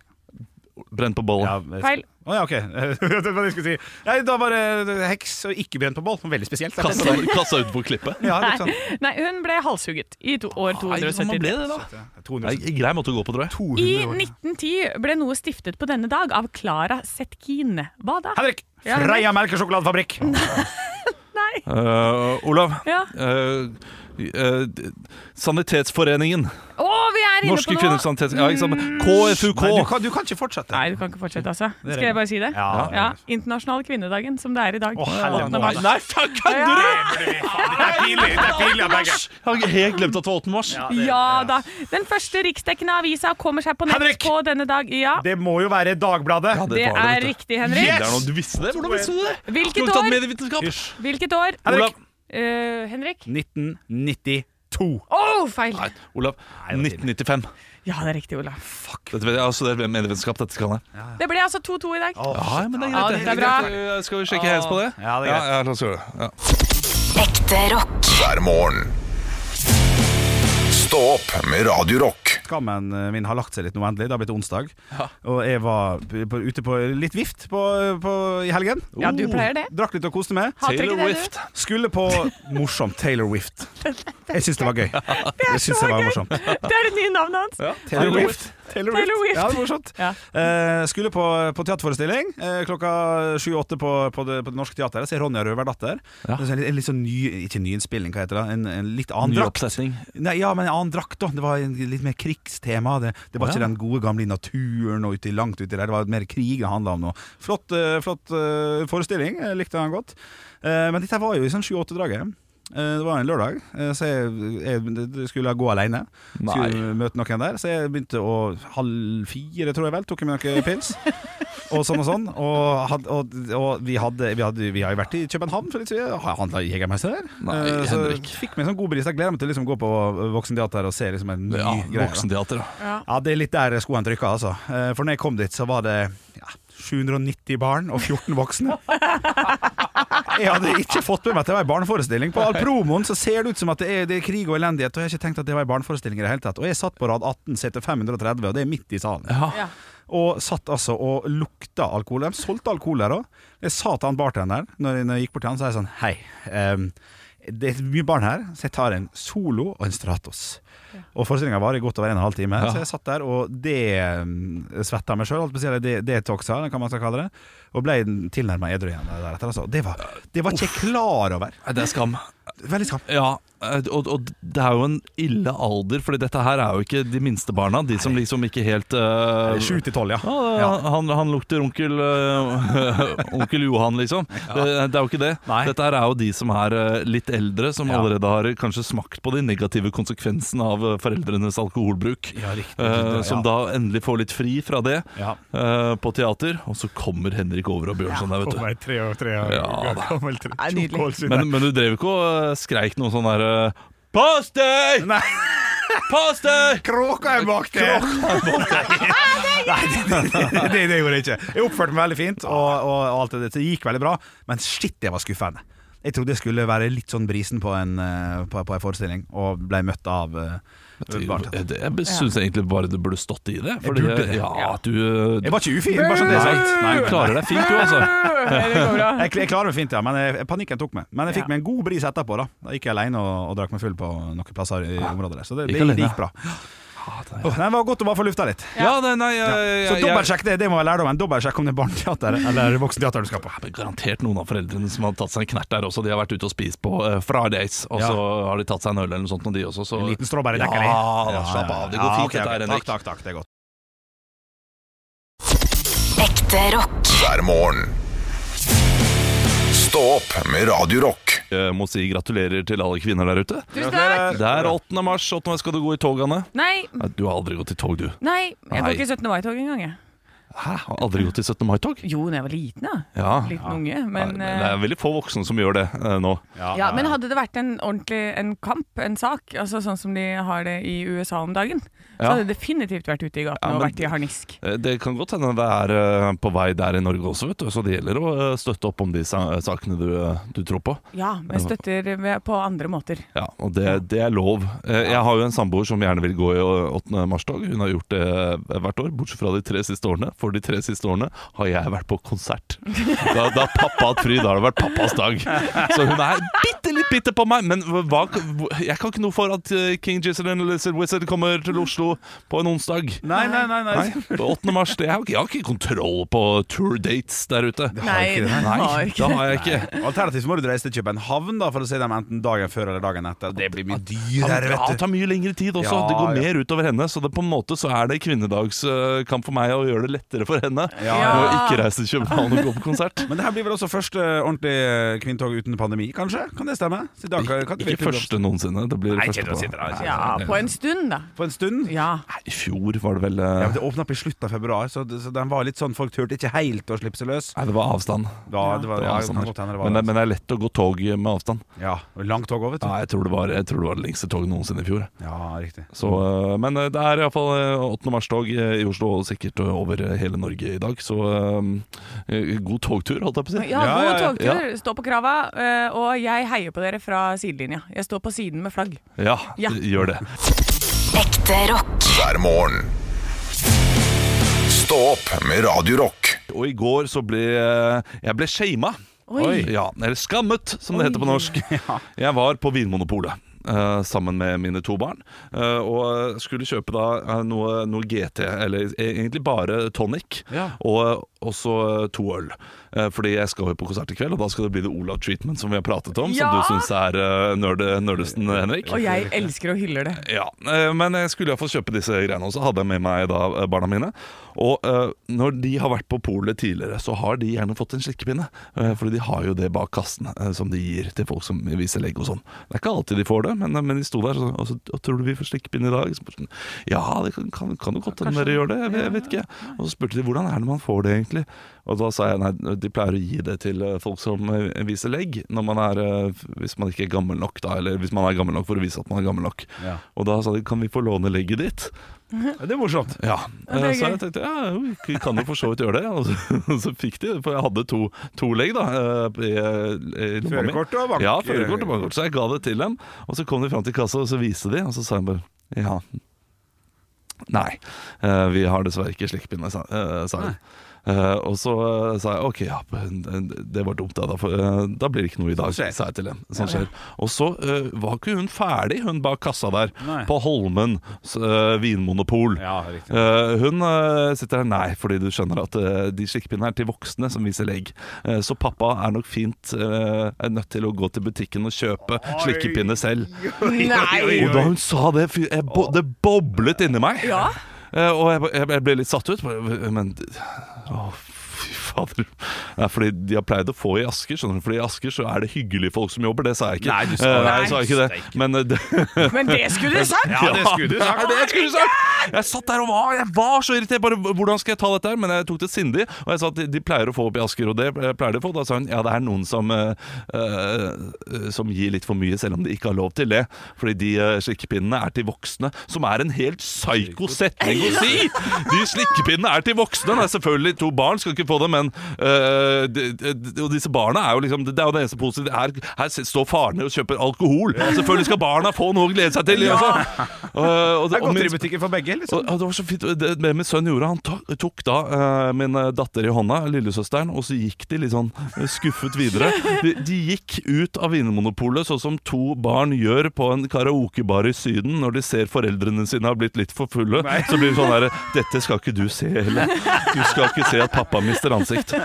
Speaker 3: Brent på bollen.
Speaker 4: Feil.
Speaker 2: Å ja, OK. det var det jeg skulle si. Nei, da var det heks og ikke brent på bål. Veldig spesielt.
Speaker 3: Kassa, kassa ut på klippet.
Speaker 2: Ja, litt sånn.
Speaker 4: Nei, nei, hun ble halshugget i to, år
Speaker 3: Nei, hva
Speaker 4: 273.
Speaker 3: ble det, da? Nei,
Speaker 2: 200
Speaker 3: grei måte å gå på, tror jeg.
Speaker 2: 200
Speaker 4: I
Speaker 2: sånn år.
Speaker 4: 1910 ble noe stiftet på denne dag av Clara Zetkin. Hva da?
Speaker 2: Henrik!
Speaker 4: Ja, Henrik.
Speaker 2: Freia melkesjokoladefabrikk.
Speaker 4: Nei.
Speaker 3: Eh, Olav.
Speaker 4: Ja.
Speaker 3: Eh, eh, Sanitetsforeningen.
Speaker 4: Å, vi er er inne
Speaker 3: Norske
Speaker 4: på
Speaker 3: kvinners
Speaker 4: noe. Mm.
Speaker 3: sanitet... Ja, ikke sant? KFUK!
Speaker 2: Nei, du, kan, du kan ikke fortsette.
Speaker 4: Nei, du kan ikke fortsette, altså.
Speaker 2: er
Speaker 4: Skal jeg bare si det?
Speaker 2: Ja.
Speaker 4: Internasjonale kvinnedagen, som det er i dag.
Speaker 2: Å, herre
Speaker 4: Åttende
Speaker 2: må-
Speaker 4: mars.
Speaker 3: Nei, faen, kødder du?!
Speaker 2: Det er pinlig! Det er pinlig av begge.
Speaker 3: Jeg har helt glemt at det var 8. mars.
Speaker 4: Ja da. Den første riksdekkende avisa kommer seg på nett
Speaker 2: Henrik!
Speaker 4: på denne dag. Ja,
Speaker 2: Det må jo være Dagbladet.
Speaker 3: Ja,
Speaker 4: det
Speaker 3: var det,
Speaker 4: er
Speaker 3: vet du.
Speaker 4: riktig, Henrik.
Speaker 3: Det er noe- Du visste det? Hvordan visste du det?
Speaker 4: Hvilket
Speaker 3: Skulle du tatt
Speaker 4: år?
Speaker 3: medievitenskap?
Speaker 2: Hysj.
Speaker 4: Hvilket år?
Speaker 2: Henrik.
Speaker 4: Eh, Henrik?
Speaker 2: 1992.
Speaker 4: Å, feil!
Speaker 3: Nei, Olav.
Speaker 2: det var tidlig.
Speaker 3: 1995.
Speaker 4: Ja, det er riktig, Olaf.
Speaker 3: Dette vet jeg, altså, det er medievitenskap, dette skal jeg.
Speaker 4: Det ble altså 2-2 i dag.
Speaker 3: Ja, men det er
Speaker 4: Ja,
Speaker 3: greit.
Speaker 4: dette er bra.
Speaker 3: greit. Skal vi sjekke hands på det?
Speaker 2: Ja, det er greit.
Speaker 3: Ja, la oss gjøre det. Ja.
Speaker 5: Ekte rock.
Speaker 6: hver morgen. Stå opp med Radio Rock.
Speaker 2: Skammen eh, min har lagt seg litt nå endelig. Det har blitt onsdag. Og jeg var p- på, ute på litt vift på, på, i helgen. Oh.
Speaker 4: Ja, du pleier det.
Speaker 2: Drakk litt og koste meg.
Speaker 4: Hater ikke
Speaker 3: Taylor
Speaker 4: det,
Speaker 3: Wift.
Speaker 4: du?
Speaker 2: Skulle på morsomt Taylor Wift. Jeg syns det var gøy. Det syns jeg var morsomt.
Speaker 4: Det er det nye navnet hans.
Speaker 2: Taylor Wift. Taylor
Speaker 4: Taylor Wift.
Speaker 2: Ja, det var morsomt.
Speaker 4: Ja.
Speaker 2: Eh, skulle på, på teaterforestilling eh, klokka sju-åtte på, på, det- på Det Norske Teatret. Ser Ronja Røverdatter.
Speaker 3: Ja.
Speaker 2: Det er En, en litt sånn ny, ikke nyinnspilling, hva heter det? En, en litt annen
Speaker 3: Ny
Speaker 2: drakt.
Speaker 3: oppsetning.
Speaker 2: Nei, ja, men en annen drakt, da. Det var en, litt mer krigstema. Det, det var
Speaker 3: Å, ja.
Speaker 2: ikke den gode gamle i naturen og ute, langt uti der. Det var mer krig det handla om nå. Flott, eh, flott eh, forestilling. Jeg likte den godt. Eh, men dette var jo i sånn sju-åtte-draget. Eh, det var en lørdag, eh, så jeg, jeg skulle gå aleine.
Speaker 3: Nei.
Speaker 2: Skulle møte noen der. Så jeg begynte å halv fire, tror jeg vel, tok jeg meg noen pils. Og sånn og sånn. Og, had, og, og vi, hadde, vi, hadde, vi har jo vært i København for litt siden. Har jeg handla Jegermeister der?
Speaker 3: Nei,
Speaker 2: Eh, så
Speaker 3: Henrik.
Speaker 2: fikk meg sånn god bris. Jeg gleder meg til å liksom gå på voksenteater og se liksom en ny
Speaker 3: Ja,
Speaker 2: greie. da.
Speaker 3: voksenteater. da.
Speaker 2: Ja, det er litt der skoene trykker, altså. Eh, For når jeg kom dit, så var det ja, 790 barn og 14 voksne. Jeg hadde ikke fått med meg at det var en barneforestilling. På all promoen så ser det ut som at det er, det er krig og elendighet, og jeg har ikke tenkt at det var en barneforestilling i det hele tatt. Og jeg satt på rad 18, seter 530, og det er midt i salen.
Speaker 4: Ja.
Speaker 2: Og satt altså og lukta alkohol. De solgte alkohol der òg. Jeg sa til han bartenderen, når jeg, når jeg gikk bort til han, så sa jeg sånn Hei, ehm, det er mye barn her, så jeg tar en Solo og en Stratos. Og forestillinga varer godt over en og en halv time, så jeg satt der, og det um, svetta meg sjøl. Det, det toxa, kan man skal kalle det. Og ble tilnærma edru igjen deretter. Altså. Det, var, det var ikke jeg klar over.
Speaker 3: Nei, Det er skam.
Speaker 2: Veldig skam.
Speaker 3: Ja, eh, og, og det er jo en ille alder, Fordi dette her er jo ikke de minste barna. De som liksom ikke helt eh,
Speaker 2: Sju til tolv, ja.
Speaker 3: ja, han, han lukter onkel, eh, onkel Johan, liksom. Det, det er jo ikke det.
Speaker 2: Nei.
Speaker 3: Dette her er jo de som er eh, litt eldre, som
Speaker 2: Ja.
Speaker 3: allerede har eh, kanskje smakt på de negative konsekvensene av eh, foreldrenes alkoholbruk.
Speaker 2: Ja, riktig.
Speaker 3: Eh, som
Speaker 2: Ja.
Speaker 3: da endelig får litt fri fra det
Speaker 2: Ja.
Speaker 3: eh, på teater. Og så kommer Henrik over og Bjørnson der, vet du.
Speaker 2: Over tre og tre
Speaker 3: Ja, da.
Speaker 2: gammel tjukk
Speaker 3: Men, men du drev ikke og eh, skreik noe sånn der eh, Pass deg!
Speaker 2: Nei.
Speaker 3: Pass deg!
Speaker 2: Kråka er bak der! Nei, det, det gjorde jeg ikke. Jeg oppførte meg veldig fint, og, og, og alt det der. Det gikk veldig bra, men shit, det var skuffende. Jeg trodde jeg skulle være litt sånn brisen på en, eh, på, på en forestilling, og ble møtt av eh, bartender.
Speaker 3: Det- Jeg syns egentlig bare det burde stått i det. Fordi,
Speaker 2: altså. burde det.
Speaker 3: Ja, du,
Speaker 2: Jeg var ikke ufin, bare sånn det er sagt. Nei,
Speaker 3: du klarer deg fint, du, altså.
Speaker 4: Det går bra.
Speaker 2: Jeg, jeg klarer meg fint, ja, men jeg, panikken tok meg. Men jeg fikk
Speaker 4: Ja.
Speaker 2: meg en god bris etterpå. Da Da gikk jeg alene og, og drakk meg full på noen plasser i området der. Så det,
Speaker 3: Gikk
Speaker 2: det, det
Speaker 3: alene,
Speaker 2: gikk bra. Åh, nei, det var godt å bare få lufta litt.
Speaker 3: Ah, Ja, nei, nei jeg,
Speaker 2: Så
Speaker 3: jeg, jeg,
Speaker 2: dobbeltsjekk det, det må være lærdommen. Dobbeltsjekk om det er barneteater eller voksenteater du skal på.
Speaker 3: Men Garantert noen av foreldrene som har tatt seg en knert der også. De har vært ute og spist på eh, Fridays, og
Speaker 2: Ja.
Speaker 3: så har de tatt seg en øl eller noe sånt, og de også. Så.
Speaker 2: En liten strawberry
Speaker 3: ja,
Speaker 2: dekker vi.
Speaker 3: da, slapp av. Det går
Speaker 2: Ja,
Speaker 3: fint,
Speaker 2: ok,
Speaker 3: dette
Speaker 2: ok.
Speaker 3: her, Henrik.
Speaker 2: Takk, takk, takk, det er godt.
Speaker 5: Ekte rock.
Speaker 6: hver morgen. Stå opp med Radio Rock.
Speaker 3: Jeg må si gratulerer til alle kvinner der ute.
Speaker 4: Tusen takk!
Speaker 3: Det er 8. mars. 8. mars skal du gå i tog, Anne.
Speaker 4: Nei,
Speaker 3: Eh, Nei, Du har aldri gått i tog, du.
Speaker 4: nei, jeg
Speaker 3: Nei.
Speaker 4: går ikke 17. mai-tog engang. jeg.
Speaker 3: Hæ? Har Aldri gått i 17. mai-tog?
Speaker 4: Jo, da jeg var liten, da.
Speaker 3: Ja.
Speaker 4: Liten unge. Men, eh,
Speaker 3: Nei, det er veldig få voksne som gjør det eh, nå.
Speaker 4: ja, men hadde det vært en ordentlig en kamp, en sak, altså sånn som de har det i USA om dagen, så
Speaker 3: Ja.
Speaker 4: hadde det definitivt vært ute i gatene
Speaker 3: Ja,
Speaker 4: og
Speaker 3: men-
Speaker 4: vært i harnisk.
Speaker 3: Eh, Det kan godt hende det er eh, på vei der i Norge også, vet du. Så det gjelder å eh, støtte opp om de sa- sakene du, eh, du tror på.
Speaker 4: Ja, men støtter ved- på andre måter.
Speaker 3: Ja, og det, det er lov. Eh, Jeg har jo en samboer som gjerne vil gå i eh, 8. mars-tog. Hun har gjort det eh, hvert år, bortsett fra de tre siste årene. For de tre siste årene har jeg vært på konsert. Da, da har pappa hatt fri, da har det vært pappas dag. Så hun er bitte litt spytte på meg! Men hva, hva- jeg kan ikke noe for at eh, King Gizzard and Lizard Wizard kommer til Oslo på en onsdag.
Speaker 2: Nei, nei, nei, nei.
Speaker 3: Nei, på 8. mars. Det er jo ikke, jeg har ikke kontroll på tour dates der ute.
Speaker 4: Nei,
Speaker 2: ikke det.
Speaker 4: det
Speaker 3: Nei,
Speaker 4: har ikke
Speaker 3: det har jeg ikke.
Speaker 2: Alternativt må du reise til København da, for å se dem enten dagen før eller dagen etter. Det blir mye dyrere,
Speaker 3: Ja, det
Speaker 2: vet du.
Speaker 3: tar mye lengre tid også.
Speaker 2: Ja,
Speaker 3: det går
Speaker 2: ja.
Speaker 3: mer utover henne. Så det, på en måte så er det kvinnedagskamp for meg å gjøre det lettere for henne
Speaker 2: Ja.
Speaker 3: å ikke reise til København og gå på konsert.
Speaker 2: Men det her blir vel også første eh, ordentlige kvinnetog uten pandemi, kanskje? Kan det stemme? Så i dag kan- kan det virkelig
Speaker 3: Ikke
Speaker 2: bli
Speaker 3: første noensinne. Det blir
Speaker 2: Nei, ikke
Speaker 3: første
Speaker 2: det å si det, nei,
Speaker 3: på.
Speaker 2: ikke
Speaker 4: Ja, på en stund, da.
Speaker 2: opp- På en stund?
Speaker 4: Ja.
Speaker 3: Nei, I fjor var det vel
Speaker 2: Ja,
Speaker 3: eh,
Speaker 2: men Det åpna opp i slutten av februar, så, det- så den var litt sånn folk turte ikke helt å slippe seg løs.
Speaker 3: Nei, det var avstand.
Speaker 2: Da, det var,
Speaker 3: Det
Speaker 2: ja, det
Speaker 3: var avstand
Speaker 2: kan
Speaker 3: her.
Speaker 2: godt hende det var
Speaker 3: men, det, men det er lett å gå tog med avstand.
Speaker 2: Ja, Langt tog òg, vet du.
Speaker 3: Ja, jeg tror det var, jeg tror det, var det lengste toget noensinne i fjor.
Speaker 2: Ja, riktig.
Speaker 3: Så, eh, men eh, det er iallfall 8. mars-tog eh, i Oslo, og sikkert eh, over eh, hele Norge i dag. Så eh, god togtur, holdt jeg på å si.
Speaker 4: Ja,
Speaker 2: Ja,
Speaker 4: god
Speaker 2: ja, ja.
Speaker 4: togtur. Stå på krava. eh, Og jeg heier på dere fra sidelinja. Jeg står på siden med flagg.
Speaker 3: Ja,
Speaker 4: Ja.
Speaker 3: gjør det.
Speaker 5: Ekte rock.
Speaker 6: hver morgen. Stå opp med Radio Rock.
Speaker 3: Og i går så ble eh, jeg ble shama.
Speaker 4: Oi.
Speaker 3: Ja, eller skammet, som det heter på norsk. Jeg var på Vinmonopolet. eh, sammen med mine to barn. eh, og skulle kjøpe da eh, noe, noe GT, eller e- egentlig bare tonic,
Speaker 2: Ja.
Speaker 3: og også eh, to øl. Eh, fordi jeg skal jo på konsert i kveld, og da skal det bli det Olav Treatment som vi har pratet om, som
Speaker 4: Ja!
Speaker 3: du syns er uh, nerdesten, Henrik.
Speaker 4: Og jeg elsker og hyller det.
Speaker 3: Ja, eh, men jeg skulle iallfall kjøpe disse greiene, og så hadde jeg med meg da eh, barna mine. Og eh, når de har vært på polet tidligere, så har de gjerne fått en slikkepinne. Uh, fordi de har jo det bak kassen eh, som de gir til folk som viser legg og sånn. Det er ikke alltid de får det, men, men de sto der og så, og så og 'Tror du vi får slikkepinne i dag?' Så spurte de, ja, det kan, kan, kan jo godt hende dere gjør det. Jeg, jeg vet ikke. Og så spurte de hvordan er det man får det, egentlig. Og da sa jeg nei, de pleier å gi det til eh, folk som eh, viser legg, når man er, eh, hvis man ikke er gammel nok, da, eller hvis man er gammel nok for å vise at man er gammel nok.
Speaker 2: Ja.
Speaker 3: Og da sa de kan vi få låne legget ditt?
Speaker 2: Ja, Det er morsomt.
Speaker 3: Ja.
Speaker 4: det er
Speaker 3: Eh, så
Speaker 4: gøy.
Speaker 3: jeg tenkte ja, jo, vi kan jo for så vidt gjøre det. Og så, og så fikk de det, for jeg hadde to, to legg da. eh, I, i lomma mi.
Speaker 2: Førerkort og bank-
Speaker 3: Ja, førerkort og bankkort. Så jeg ga det til dem. Og så kom de fram til kassa, og så viste de, og så sa jeg bare ja. Nei, eh, vi har dessverre ikke slikkpinne, sa eh, sa hun. Eh, og så eh, sa jeg OK, ja, eh, det var dumt, da. Da, får- eh, da blir det ikke noe i dag,
Speaker 2: skjer.
Speaker 3: sa jeg til dem. Sånn skjer. Og så eh, var ikke hun ferdig, hun bak kassa der,
Speaker 2: Nei.
Speaker 3: på Holmen s- eh, vinmonopol.
Speaker 2: Ja, riktig.
Speaker 3: Eh, hun eh, sitter her nei, fordi du skjønner at eh, de slikkpinnene er til voksne som viser legg. Eh, så pappa er nok fint eh, er nødt til å gå til butikken og kjøpe slikkepinne selv.
Speaker 4: Nei!
Speaker 3: Og da hun sa det, fy- jeg, bo, det boblet inni meg.
Speaker 4: Ja.
Speaker 3: Eh, og jeg, jeg, jeg ble litt satt ut. bare, Men å, fy fader. Nei, fordi de har pleid å få i Asker, skjønner du. Fordi i Asker så er det hyggelige folk som jobber, det sa jeg ikke.
Speaker 2: Nei, du sa
Speaker 3: Eh,
Speaker 2: det.
Speaker 3: nei, jeg sa ikke det.
Speaker 2: Steik.
Speaker 3: Men eh, det
Speaker 4: Men det skulle du sagt!
Speaker 2: Ja, det skulle du sagt.
Speaker 3: Ja, det skulle du sagt. Jeg satt der og var, jeg var så irritert. Bare, hvordan skal jeg ta dette her? Men jeg tok det sindig, og jeg sa at de, de pleier å få opp i Asker, og det eh, pleier de å få. Da sa hun ja, det er noen som, eh, eh, som gir litt for mye, selv om de ikke har lov til det. Fordi de eh, slikkepinnene er til voksne, som er en helt psyko setning å si! De slikkepinnene er til voksne. Nei, selvfølgelig, to barn skal ikke få det, men eh, de, de, de, og disse barna er jo liksom Det er jo det eneste positive. Her, her står farene og kjøper alkohol. Selvfølgelig skal barna få noe å glede seg til, de også. Og,
Speaker 2: Det
Speaker 3: og,
Speaker 2: er
Speaker 3: og min-
Speaker 2: godteributikken for begge, liksom.
Speaker 3: og- og det var så fint Det det min sønn gjorde Han tok, tok da eh, min datter i hånda, lillesøsteren, og så gikk de litt sånn eh, skuffet videre. De, de gikk ut av Vinmonopolet, sånn som to barn gjør på en karaokebar i Syden når de ser foreldrene sine har blitt litt for fulle. Så blir det sånn herre Dette skal ikke du se, Helen. Du skal ikke se at pappa mister ansikt.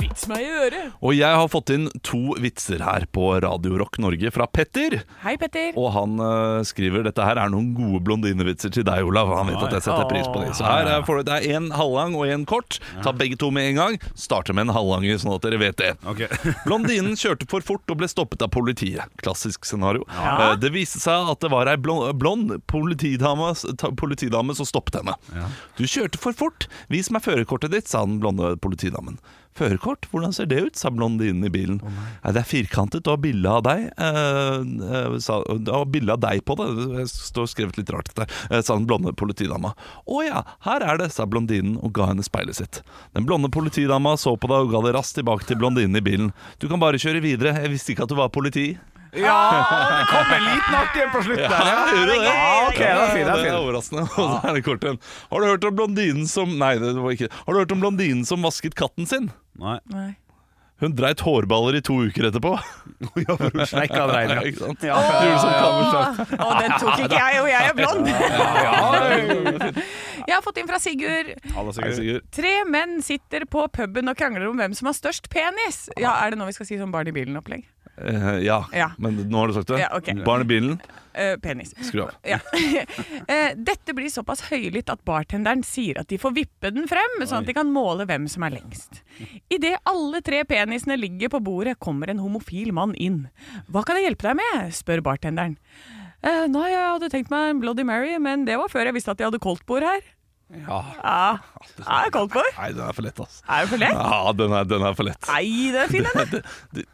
Speaker 4: Vits meg i øret.
Speaker 3: Og jeg har fått inn to vitser her på Radio Rock Norge fra Petter.
Speaker 4: Hei, Petter.
Speaker 3: Og han eh, skriver dette her er noen gode blondinevitser til deg, Olav. Han vet at jeg setter pris på dem. Så her er, for, det er en halvlang og en kort. Ta begge to med en gang. Starte med en halvlange, sånn at dere vet det.
Speaker 2: Ok.
Speaker 3: Blondinen kjørte for fort og ble stoppet av politiet. Klassisk scenario. Eh, Det viste seg at det var ei blond, blond politidame, ta- politidame som stoppet henne. Du kjørte for fort. Vis meg førerkortet ditt, sa den blonde politidamen. Førerkort? Hvordan ser det ut? sa blondinen i bilen. «Nei, det er firkantet og har bilde av deg. Eh, eh, sa, det har bilde av deg på det. Det står skrevet litt rart, dette. Eh, sa den blonde politidama. Å ja, her er det, sa blondinen og ga henne speilet sitt. Den blonde politidama så på deg og ga det raskt tilbake til blondinen i bilen. Du kan bare kjøre videre, jeg visste ikke at du var politi.
Speaker 2: Ja, det kom en liten artig en på slutten der.
Speaker 3: Ja, gjorde det?
Speaker 2: Ja, ok, det er fint, det er
Speaker 3: det
Speaker 2: fint.
Speaker 3: er overraskende. Og så er det kort en. Har du hørt om blondinen som Nei, det var ikke Har du hørt om blondinen som vasket katten sin?
Speaker 2: Nei.
Speaker 4: Nei.
Speaker 3: Hun dreit hårballer i to uker etterpå.
Speaker 2: Ja, for hun Sleika og
Speaker 3: Ja,
Speaker 2: dreier.
Speaker 3: ikke sant?
Speaker 2: Ja.
Speaker 3: Gjorde som Kammersø.
Speaker 4: Å, den tok ikke jeg, og jeg er blond.
Speaker 2: Ja,
Speaker 4: Jeg har fått inn fra Sigurd.
Speaker 2: Alle
Speaker 3: Hei,
Speaker 2: sikkert.
Speaker 3: Sigurd.
Speaker 4: Tre menn sitter på puben og krangler om hvem som har størst penis. Ja, Er det nå vi skal si sånn barn i bilen-opplegg?
Speaker 3: Eh, ja.
Speaker 4: Ja.
Speaker 3: men nå har du sagt det.
Speaker 4: Ja, ok.
Speaker 3: Barn i bilen,
Speaker 4: Eh, penis.
Speaker 3: skru av.
Speaker 4: Ja. Eh, Dette blir såpass høylytt at bartenderen sier at de får vippe den frem, sånn at de kan måle hvem som er lengst. Idet alle tre penisene ligger på bordet, kommer en homofil mann inn. Hva kan jeg hjelpe deg med? spør bartenderen. «Eh, nei, jeg hadde tenkt meg en Bloody Mary, men det var før jeg visste at de hadde koldtbord her.
Speaker 2: Ja.
Speaker 4: Ja, ja koldtbord.
Speaker 3: Nei, den er for lett, ass.
Speaker 4: Er det for lett?
Speaker 3: Ja, den er, den er for lett.
Speaker 4: Nei, det er fin, den. da.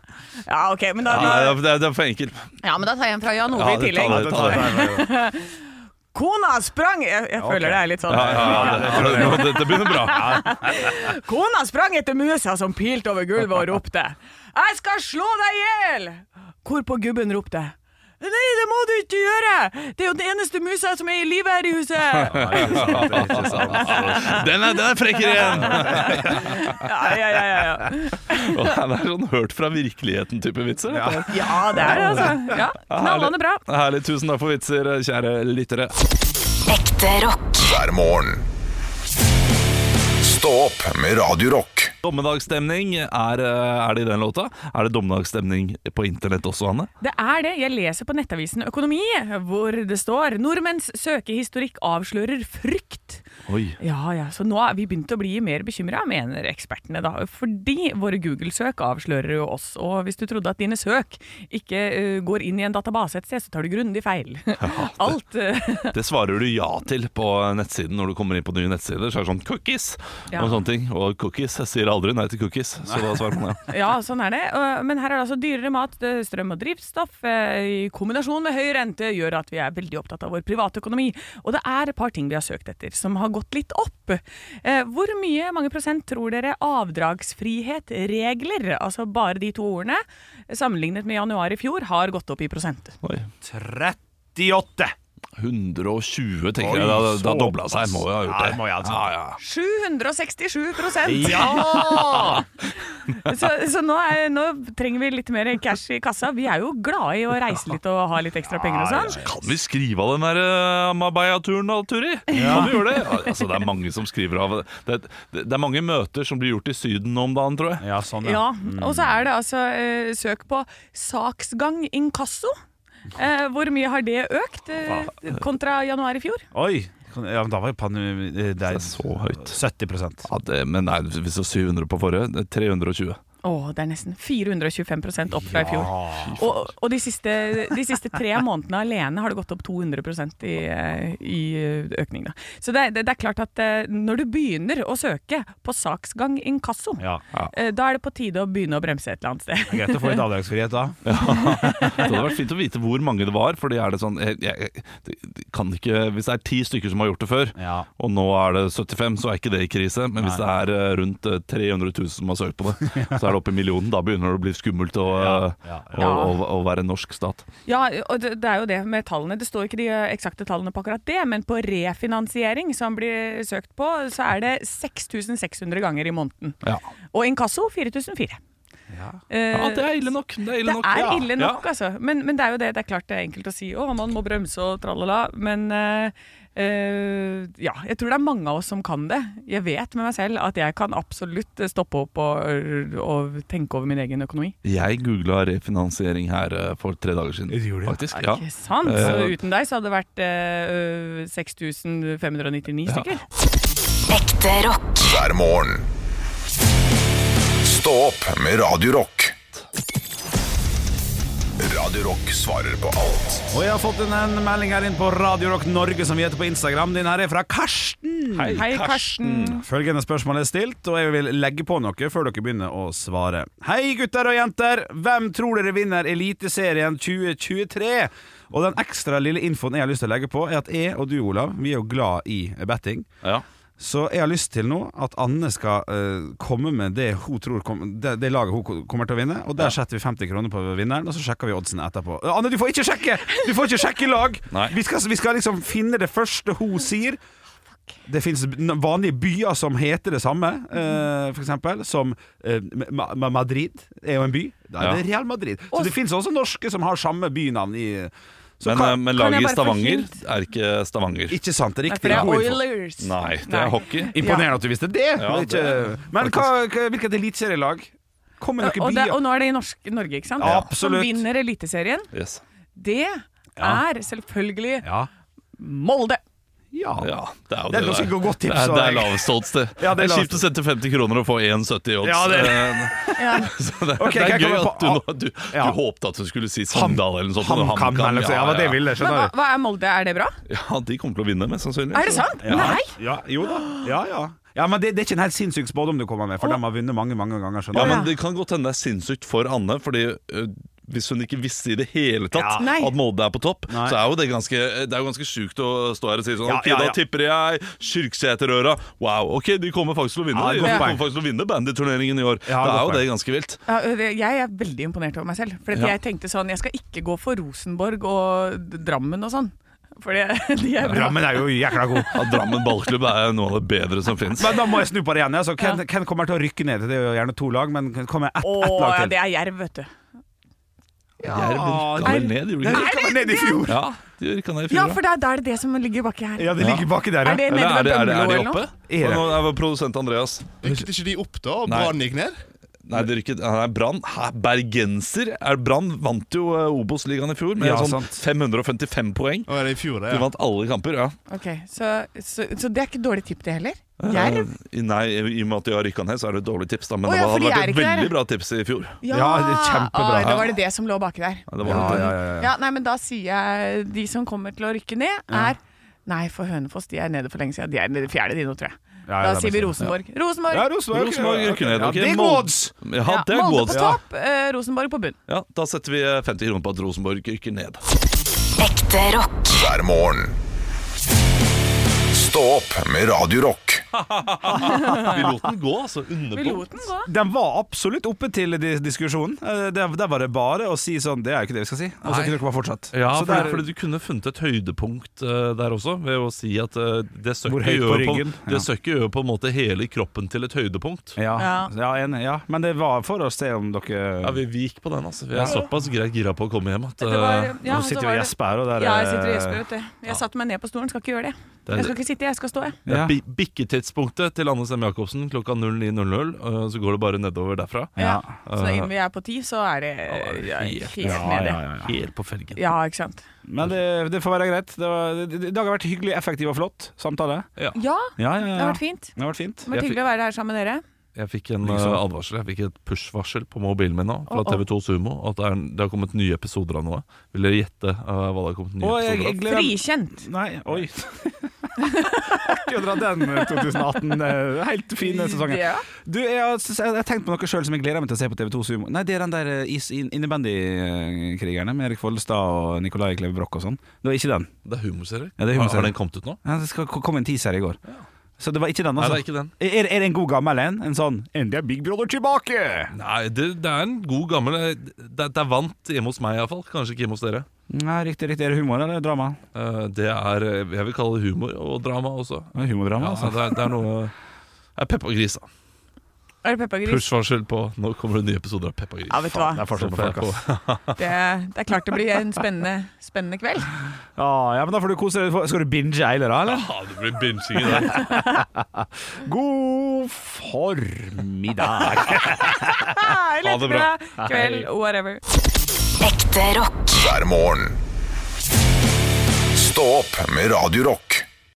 Speaker 4: Ja, ok, men da,
Speaker 3: Ja, det er- det, er, det er for enkel.
Speaker 4: ja, men da tar jeg en fra Jan Ove i
Speaker 3: Ja, det tar
Speaker 4: tillegg.
Speaker 3: det, ta det.
Speaker 4: Kona sprang Jeg, jeg føler det er litt sånn.
Speaker 3: Ja, ja, ja, det, det, nå- dette begynner bra.
Speaker 4: Kona sprang etter musa som pilte over gulvet og ropte 'Jeg skal slå deg i hjel!' Hvorpå gubben ropte 'Nei, det må du ikke gjøre! Det er jo den eneste musa som er i live her i huset!'
Speaker 3: Den er, den er frekkere igjen!
Speaker 4: Ja, ja, ja, ja, ja.
Speaker 3: Og Det er sånn hørt fra virkeligheten-type vitser. dette her.
Speaker 4: ja det er det, altså. Ja, Knallende bra.
Speaker 3: Herlig. Tusen takk for vitser, kjære lyttere.
Speaker 5: Ekte rock.
Speaker 6: hver morgen. Stå opp med Radio Rock.
Speaker 3: Dommedagsstemning er, eh, er det i den låta. Er det dommedagsstemning på internett også, Anne?
Speaker 4: Det er det. Jeg leser på nettavisen Økonomi, hvor det står 'Nordmenns søkehistorikk avslører frykt'.
Speaker 3: Oi.
Speaker 4: Ja, ja, så nå er vi begynt å bli mer bekymra, mener ekspertene da. Fordi våre Google-søk avslører jo oss. Og hvis du trodde at dine søk ikke eh, går inn i en database et sted, så tar du grundig feil. Alt eh,
Speaker 3: Det svarer du ja til på nettsiden når du kommer inn på nye nettsider. Så er det sånn 'cookies'
Speaker 4: Ja.
Speaker 3: og sånne ting. Og cookies jeg sier aldri nei til cookies, så da svarer man ja.
Speaker 4: Ja, sånn er det. Og- Men her er det altså dyrere mat, eh, strøm og drivstoff eh, i kombinasjon med høy rente gjør at vi er veldig opptatt av vår privatøkonomi. Og det er et par ting vi har søkt etter som har gått litt opp. Eh, Hvor mye, mange prosent, tror dere avdragsfrihet, regler, altså bare de to ordene, sammenlignet med januar i fjor, har gått opp i prosent?
Speaker 3: Oi.
Speaker 2: 38.
Speaker 3: 120, tenker
Speaker 2: Oi,
Speaker 3: jeg. Da, da
Speaker 2: såpass.
Speaker 3: dobla seg. Må jo ha gjort
Speaker 2: Ja,
Speaker 3: det.
Speaker 2: det må jeg altså. ha gjort.
Speaker 3: ja, ja.
Speaker 4: 767 prosent!
Speaker 2: Ja!
Speaker 4: Så, så nå, er, nå trenger vi litt mer cash i kassa. Vi er jo glade i å reise litt og ha litt ekstra penger og sånn.
Speaker 3: Kan vi skrive av den der eh, Mabaya-turen da, Turi? Kan vi gjøre det? Ja, Altså, det er mange som skriver av det. Det, det. det er mange møter som blir gjort i Syden nå om dagen, tror jeg.
Speaker 2: Ja, sånn, ja.
Speaker 4: Ja, og så er det altså eh, søk på saksgang inkasso. Eh, hvor mye har det økt eh, kontra januar i fjor?
Speaker 2: Oi. Ja, men da var jo eh, pandemi Det er
Speaker 3: så høyt.
Speaker 2: 70
Speaker 3: Ja, det, eh, men nei, vi så 700 på forrige. det er 320.
Speaker 4: Å, det er nesten 425 opp fra i fjor.
Speaker 2: Ah,
Speaker 4: Og, og de, siste, de siste tre månedene alene har det gått opp 200 i, eh, i eh, økning. Da. Så det, er- det, det er klart at eh, når du begynner å søke på saksgang inkasso,
Speaker 2: Ja.
Speaker 4: eh, da er det på tide å begynne å bremse et eller annet sted.
Speaker 2: Det er greit å få litt avdragsfrihet da.
Speaker 3: Det hadde vært fint å vite hvor mange det var, fordi er det sånn jeg, jeg, det- det kan ikke, Hvis det er ti stykker som har gjort det før,
Speaker 2: Ja.
Speaker 3: og nå er det 75, så er ikke det i krise. Men hvis det er eh, rundt eh, 300 000 som har søkt på det, så er det oppe i millionen. Da begynner det å bli skummelt å, eh,
Speaker 2: Ja,
Speaker 3: å, å, å være norsk stat.
Speaker 4: Ja, og det, det er jo det med tallene. Det står ikke de eh, eksakte tallene på akkurat det, men på refinansiering som blir søkt på, så er det 6600 ganger i måneden.
Speaker 3: Ja.
Speaker 4: Og inkasso 4004. Eh,
Speaker 3: Ja, det er ille nok. Det er ille
Speaker 4: det
Speaker 3: nok,
Speaker 4: er
Speaker 3: ja.
Speaker 4: ille nok, altså. Men, men det er jo det. Det er klart det er enkelt å si å, man må bremse og tralala, men eh, eh, ja, jeg tror det er mange av oss som kan det. Jeg vet med meg selv at jeg kan absolutt stoppe opp og, og tenke over min egen økonomi.
Speaker 3: Jeg googla refinansiering her eh, for tre dager siden,
Speaker 2: Du gjorde det?
Speaker 3: faktisk. Ja.
Speaker 4: Ikke sant? Så
Speaker 3: Eh,
Speaker 4: uten deg så hadde det vært eh, 6599 stykker.
Speaker 5: Ekte rock.
Speaker 6: hver morgen. Stå opp med Radio Rock. Radio Rock svarer på alt
Speaker 2: Og jeg har fått en, en melding her inn på Radio Rock Norge, som vi heter på Instagram. Din her er fra Karsten.
Speaker 4: Hei, Karsten.
Speaker 2: Følgende spørsmål er stilt, og jeg vil legge på noe før dere begynner å svare. Hei, gutter og jenter! Hvem tror dere vinner Eliteserien 2023? Og den ekstra lille infoen jeg har lyst til å legge på, er at jeg og du, Olav, vi er jo glad i betting.
Speaker 3: Ja.
Speaker 2: Så jeg har lyst til nå at Anne skal eh, komme med det hun tror kom, det, det laget hun ko- kommer til å vinne. Og der setter vi 50 kroner på vinneren, og så sjekker vi oddsene etterpå. Eh, Anne, du får ikke sjekke! Du får ikke sjekke lag!
Speaker 3: Nei.
Speaker 2: Vi skal, vi skal liksom finne det første hun sier. Det fins n- vanlige byer som heter det samme, eh, for eksempel. Som eh, Ma Ma Madrid er jo en by. Da er
Speaker 3: Ja.
Speaker 2: det Real Madrid. Så det fins også norske som har samme bynavn i så
Speaker 3: Men,
Speaker 2: kan-
Speaker 3: eh, men
Speaker 4: kan jeg
Speaker 3: laget i
Speaker 4: bare få
Speaker 3: Stavanger
Speaker 4: hint?
Speaker 3: er ikke Stavanger.
Speaker 2: Ikke sant, det er
Speaker 4: Nei,
Speaker 2: riktig.
Speaker 4: for det er
Speaker 2: God info.
Speaker 4: Oilers.
Speaker 3: Nei, det er hockey.
Speaker 2: Imponerende at du visste det.
Speaker 3: Ja,
Speaker 2: ikke,
Speaker 3: det-
Speaker 2: men hva, hva- hvilket eliteserielag? Kom med
Speaker 4: Og,
Speaker 2: noen
Speaker 4: det,
Speaker 2: bier.
Speaker 4: og nå er det i norsk, Norge, ikke sant?
Speaker 2: Ja,
Speaker 4: Som
Speaker 2: absolutt.
Speaker 4: vinner Eliteserien.
Speaker 3: Yes.
Speaker 4: Det er selvfølgelig
Speaker 2: Ja.
Speaker 4: Molde.
Speaker 2: ja.
Speaker 3: Ja,
Speaker 2: Det
Speaker 3: det er jo
Speaker 2: er
Speaker 3: det,
Speaker 2: et ganske
Speaker 3: der.
Speaker 2: godt tips,
Speaker 3: Det er, det
Speaker 2: Alek.
Speaker 3: er laveste odds, det.
Speaker 2: Ja, det
Speaker 3: det
Speaker 2: er
Speaker 3: er kjipt å sette 50 kroner og få 1,70 i odds.
Speaker 2: Ja, det er det.
Speaker 3: Eh, Så det,
Speaker 2: Ok,
Speaker 3: det
Speaker 2: kan
Speaker 3: er
Speaker 2: jeg
Speaker 3: gøy
Speaker 2: komme
Speaker 3: at du,
Speaker 2: på-
Speaker 3: nå- du,
Speaker 2: Ja.
Speaker 3: du håpte at du skulle si Sogndal eller noe sånt. men
Speaker 2: HamKam eller noe sånt. Ja, det var det jeg
Speaker 4: Men
Speaker 2: ville.
Speaker 4: hva,
Speaker 2: Skjønner du?
Speaker 4: hva er Molde? Er det bra?
Speaker 3: Ja, de kommer til å vinne, mest sannsynlig.
Speaker 4: Er det
Speaker 3: så-
Speaker 4: sant?
Speaker 2: Ja.
Speaker 4: Nei!
Speaker 2: Ja, jo da. Ja, ja. ja, men det, det er ikke en helt sinnssyk spådom du kommer med, for de har vunnet mange mange ganger.
Speaker 3: Ja,
Speaker 2: skjønner du?
Speaker 3: men Det kan godt hende det er sinnssykt for Anne. Fordi ø, Hvis hun ikke visste i det hele
Speaker 2: Ja.
Speaker 3: tatt
Speaker 4: Nei.
Speaker 3: at Molde er på topp,
Speaker 2: Nei.
Speaker 3: så er jo det ganske Det er jo ganske sjukt å stå her og si sånn
Speaker 2: Ja,
Speaker 3: Ok,
Speaker 2: ja, ja.
Speaker 3: da tipper jeg Kyrksæterøra. Wow, ok, de kommer faktisk til å vinne.
Speaker 2: Ja,
Speaker 3: de
Speaker 2: godt
Speaker 3: kommer
Speaker 2: poeng.
Speaker 3: faktisk til å vinne bandyturneringen i år.
Speaker 2: Ja, godt
Speaker 3: da er jo
Speaker 2: poeng.
Speaker 3: det ganske vilt.
Speaker 4: Ja, ø, det- jeg er veldig imponert over meg selv. For at
Speaker 3: Ja.
Speaker 4: jeg tenkte sånn, jeg skal ikke gå for Rosenborg og D- Drammen og sånn. For det- de er bra.
Speaker 2: Drammen er jo jækla god.
Speaker 3: Ja, Drammen ballklubb er noe av det bedre som fins.
Speaker 2: Men da må jeg snu på det igjen. Altså, hvem, hvem kommer til å rykke ned? Det er jo gjerne to lag, men kommer ett
Speaker 4: Å,
Speaker 2: ett lag
Speaker 4: ja,
Speaker 2: til?
Speaker 4: det er Jerv, vet du.
Speaker 3: Jerv rykka vel ned,
Speaker 2: Det
Speaker 3: gjorde de ikke?
Speaker 2: rykka vel ned i fjor.
Speaker 3: Ja, de rykka ned i
Speaker 4: Ja,
Speaker 3: fjor.
Speaker 4: for det
Speaker 3: da.
Speaker 4: er, da er det det som ligger baki her.
Speaker 2: Ja, det ligger baki der,
Speaker 4: Er det
Speaker 2: ja.
Speaker 4: nede
Speaker 3: Eller er
Speaker 4: ved
Speaker 3: de, er, de,
Speaker 4: Bømlo
Speaker 3: er de
Speaker 4: eller
Speaker 3: oppe?
Speaker 4: noe?
Speaker 2: Er det?
Speaker 3: Nå er det produsent Andreas.
Speaker 8: Rykket ikke de opp da, og
Speaker 3: Nei.
Speaker 8: Brann gikk ned?
Speaker 3: Nei, det er ikke Nei, Brann. Hæ, Bergenser? Er Brann vant jo eh, Obos-ligaen i fjor med
Speaker 2: Ja,
Speaker 3: sånn
Speaker 2: sant.
Speaker 3: 555 poeng.
Speaker 8: Å, er det i fjor, det? Ja.
Speaker 3: De vant alle kamper, ja.
Speaker 4: Ok, så, så, så det er ikke dårlig tipp det heller? Jerv?
Speaker 3: Eh, Nei, i og med at de har rykka ned, så er det et dårlig tips, da. Men
Speaker 4: Å, ja,
Speaker 3: det var-
Speaker 4: fordi
Speaker 3: hadde
Speaker 4: jeg er
Speaker 3: vært et
Speaker 4: ikke
Speaker 3: veldig
Speaker 4: der.
Speaker 3: bra tips i fjor.
Speaker 2: Ja, det er kjempebra.
Speaker 4: ah, Da var det det som lå baki der.
Speaker 3: Ja, det var
Speaker 2: Ja,
Speaker 3: litt-
Speaker 2: ja, ja, ja.
Speaker 4: Ja, nei, men da sier jeg de som kommer til å rykke ned, er Nei, for Hønefoss de er nede for lenge siden. De er nede i fjerde de nå, tror jeg.
Speaker 2: Ja, ja,
Speaker 4: Da
Speaker 2: det er
Speaker 4: sier vi
Speaker 2: bestemt.
Speaker 4: Rosenborg. Rosenborg!
Speaker 2: Ja, Rosenborg.
Speaker 3: Rosenborg
Speaker 2: Ja, ok.
Speaker 3: rykker ned.
Speaker 2: Ja,
Speaker 3: ok.
Speaker 2: det er
Speaker 3: Mold-
Speaker 2: god odds.
Speaker 3: Ja, det er
Speaker 4: Molde
Speaker 3: god
Speaker 4: på
Speaker 3: odds. Ja.
Speaker 4: topp, eh, Rosenborg på bunn.
Speaker 3: Ja, da setter vi eh, 50 kroner på at Rosenborg rykker ned.
Speaker 5: Ekte rock.
Speaker 6: hver morgen. Stå opp med Radio Rock.
Speaker 3: Vi lot den gå, altså.
Speaker 4: Vi
Speaker 3: Underpå.
Speaker 4: lot den gå.
Speaker 2: Den var absolutt oppe til dis- diskusjonen. Eh, Der, der var det bare å si sånn Det er jo ikke det vi skal si. Og så
Speaker 3: Nei.
Speaker 2: kunne dere bare fortsatt.
Speaker 3: Ja,
Speaker 2: Så
Speaker 3: for,
Speaker 2: der-
Speaker 3: fordi du kunne funnet et høydepunkt eh, der også, ved å si at eh, det
Speaker 2: Hvor
Speaker 3: søkket
Speaker 2: høyt på
Speaker 3: gjør på,
Speaker 2: ryggen, ja.
Speaker 3: det søkket gjør på en måte hele kroppen til et høydepunkt.
Speaker 2: ja,
Speaker 4: Ja.
Speaker 2: ja, enig. Ja. Men det var for å se om dere
Speaker 3: Ja, vi, vi gikk på den, altså. Vi er såpass greit gira på å komme hjem at
Speaker 4: Det var,
Speaker 3: eh,
Speaker 4: ja,
Speaker 2: Nå
Speaker 4: så
Speaker 2: sitter vi
Speaker 4: var
Speaker 2: og
Speaker 4: det-
Speaker 2: gjesper her, og der
Speaker 4: Ja, jeg sitter og gjesper, vet du. Jeg satte meg ned på stolen, skal ikke gjøre det.
Speaker 3: det
Speaker 4: Jeg
Speaker 3: er
Speaker 4: skal ikke sitte, jeg skal stå, jeg.
Speaker 3: det er
Speaker 2: Ja.
Speaker 3: bi- bikketidspunktet til Anne Sem Jacobsen klokka 09.00. eh, Så går det bare nedover derfra.
Speaker 2: Ja.
Speaker 4: Så innen vi er på ti, så er det ja, helt nede.
Speaker 2: ja, ja, ja.
Speaker 3: Helt på felgen.
Speaker 4: Ja, ikke sant.
Speaker 2: Men det, det får være greit. Det, var, det, det, det har vært hyggelig, effektiv og flott samtale.
Speaker 4: Ja,
Speaker 2: Ja, ja,
Speaker 4: det
Speaker 2: ja.
Speaker 4: har vært fint.
Speaker 2: Det har vært fint.
Speaker 4: Det har vært
Speaker 3: Jeg
Speaker 4: hyggelig å være her sammen med dere.
Speaker 3: Jeg fikk en
Speaker 2: Liksom.
Speaker 3: eh, advarsel, jeg fikk et push-varsel på mobilen min nå
Speaker 4: Å,
Speaker 3: fra
Speaker 4: å.
Speaker 3: TV2 Sumo at det, er, det har kommet nye episoder av noe. Vil dere gjette eh, hva det har kommet nye
Speaker 2: Og jeg,
Speaker 3: episoder
Speaker 2: jeg
Speaker 3: av?
Speaker 2: gleder
Speaker 4: Frikjent.
Speaker 2: Nei, oi. Artig å dra den eh, 2018. eh, Helt fine sesongen.
Speaker 4: Ja.
Speaker 2: Du, jeg har s- jeg har tenkt på noe sjøl som jeg gleder meg til å se på TV2 Sumo. Nei, det er den der eh, is- in- innebandykrigerne med Erik Follestad og Nicolai Kleve Broch og sånn. Det var ikke den.
Speaker 3: Det er humorserie.
Speaker 2: Ja, det er
Speaker 3: Har-
Speaker 2: humorserie.
Speaker 3: Har den kommet ut nå?
Speaker 2: Ja, det skal ko- komme en teaser i går. Så det var ikke den,
Speaker 3: Nei,
Speaker 2: altså.
Speaker 3: det er ikke den.
Speaker 2: er, er det en god gammel en? En sånn 'Endelig er Big Brother tilbake'!
Speaker 3: Nei, det, det er en god gammel eh, Det, det er vant hjemme hos meg iallfall. Kanskje ikke hjemme hos dere.
Speaker 2: Nei, riktig, riktig. Er det humor eller drama?
Speaker 3: Eh, Det er eh, Jeg vil kalle det humor og drama også.
Speaker 2: Det er Humordrama,
Speaker 3: Ja,
Speaker 2: altså.
Speaker 3: det, er, det er noe Det er Peppa Gris, da.
Speaker 4: Er det peppergris?
Speaker 3: Pushvarsel på Nå kommer det nye episoder av Peppa Gris.
Speaker 4: Ja, vet du
Speaker 2: Det
Speaker 4: hva.
Speaker 2: er forskjell på
Speaker 3: Så får jeg
Speaker 2: folk, ass.
Speaker 4: Det, det er klart det blir en spennende, spennende kveld.
Speaker 2: Ja, ja, men da får du kose deg. Skal du binge Eiler, da? eller?
Speaker 3: Ja, det blir binging i dag.
Speaker 2: God formiddag.
Speaker 4: Ha
Speaker 3: Ha det bra.
Speaker 4: Kveld, whatever.
Speaker 5: Ekte rock.
Speaker 6: hver morgen. Stå opp med Radio Rock.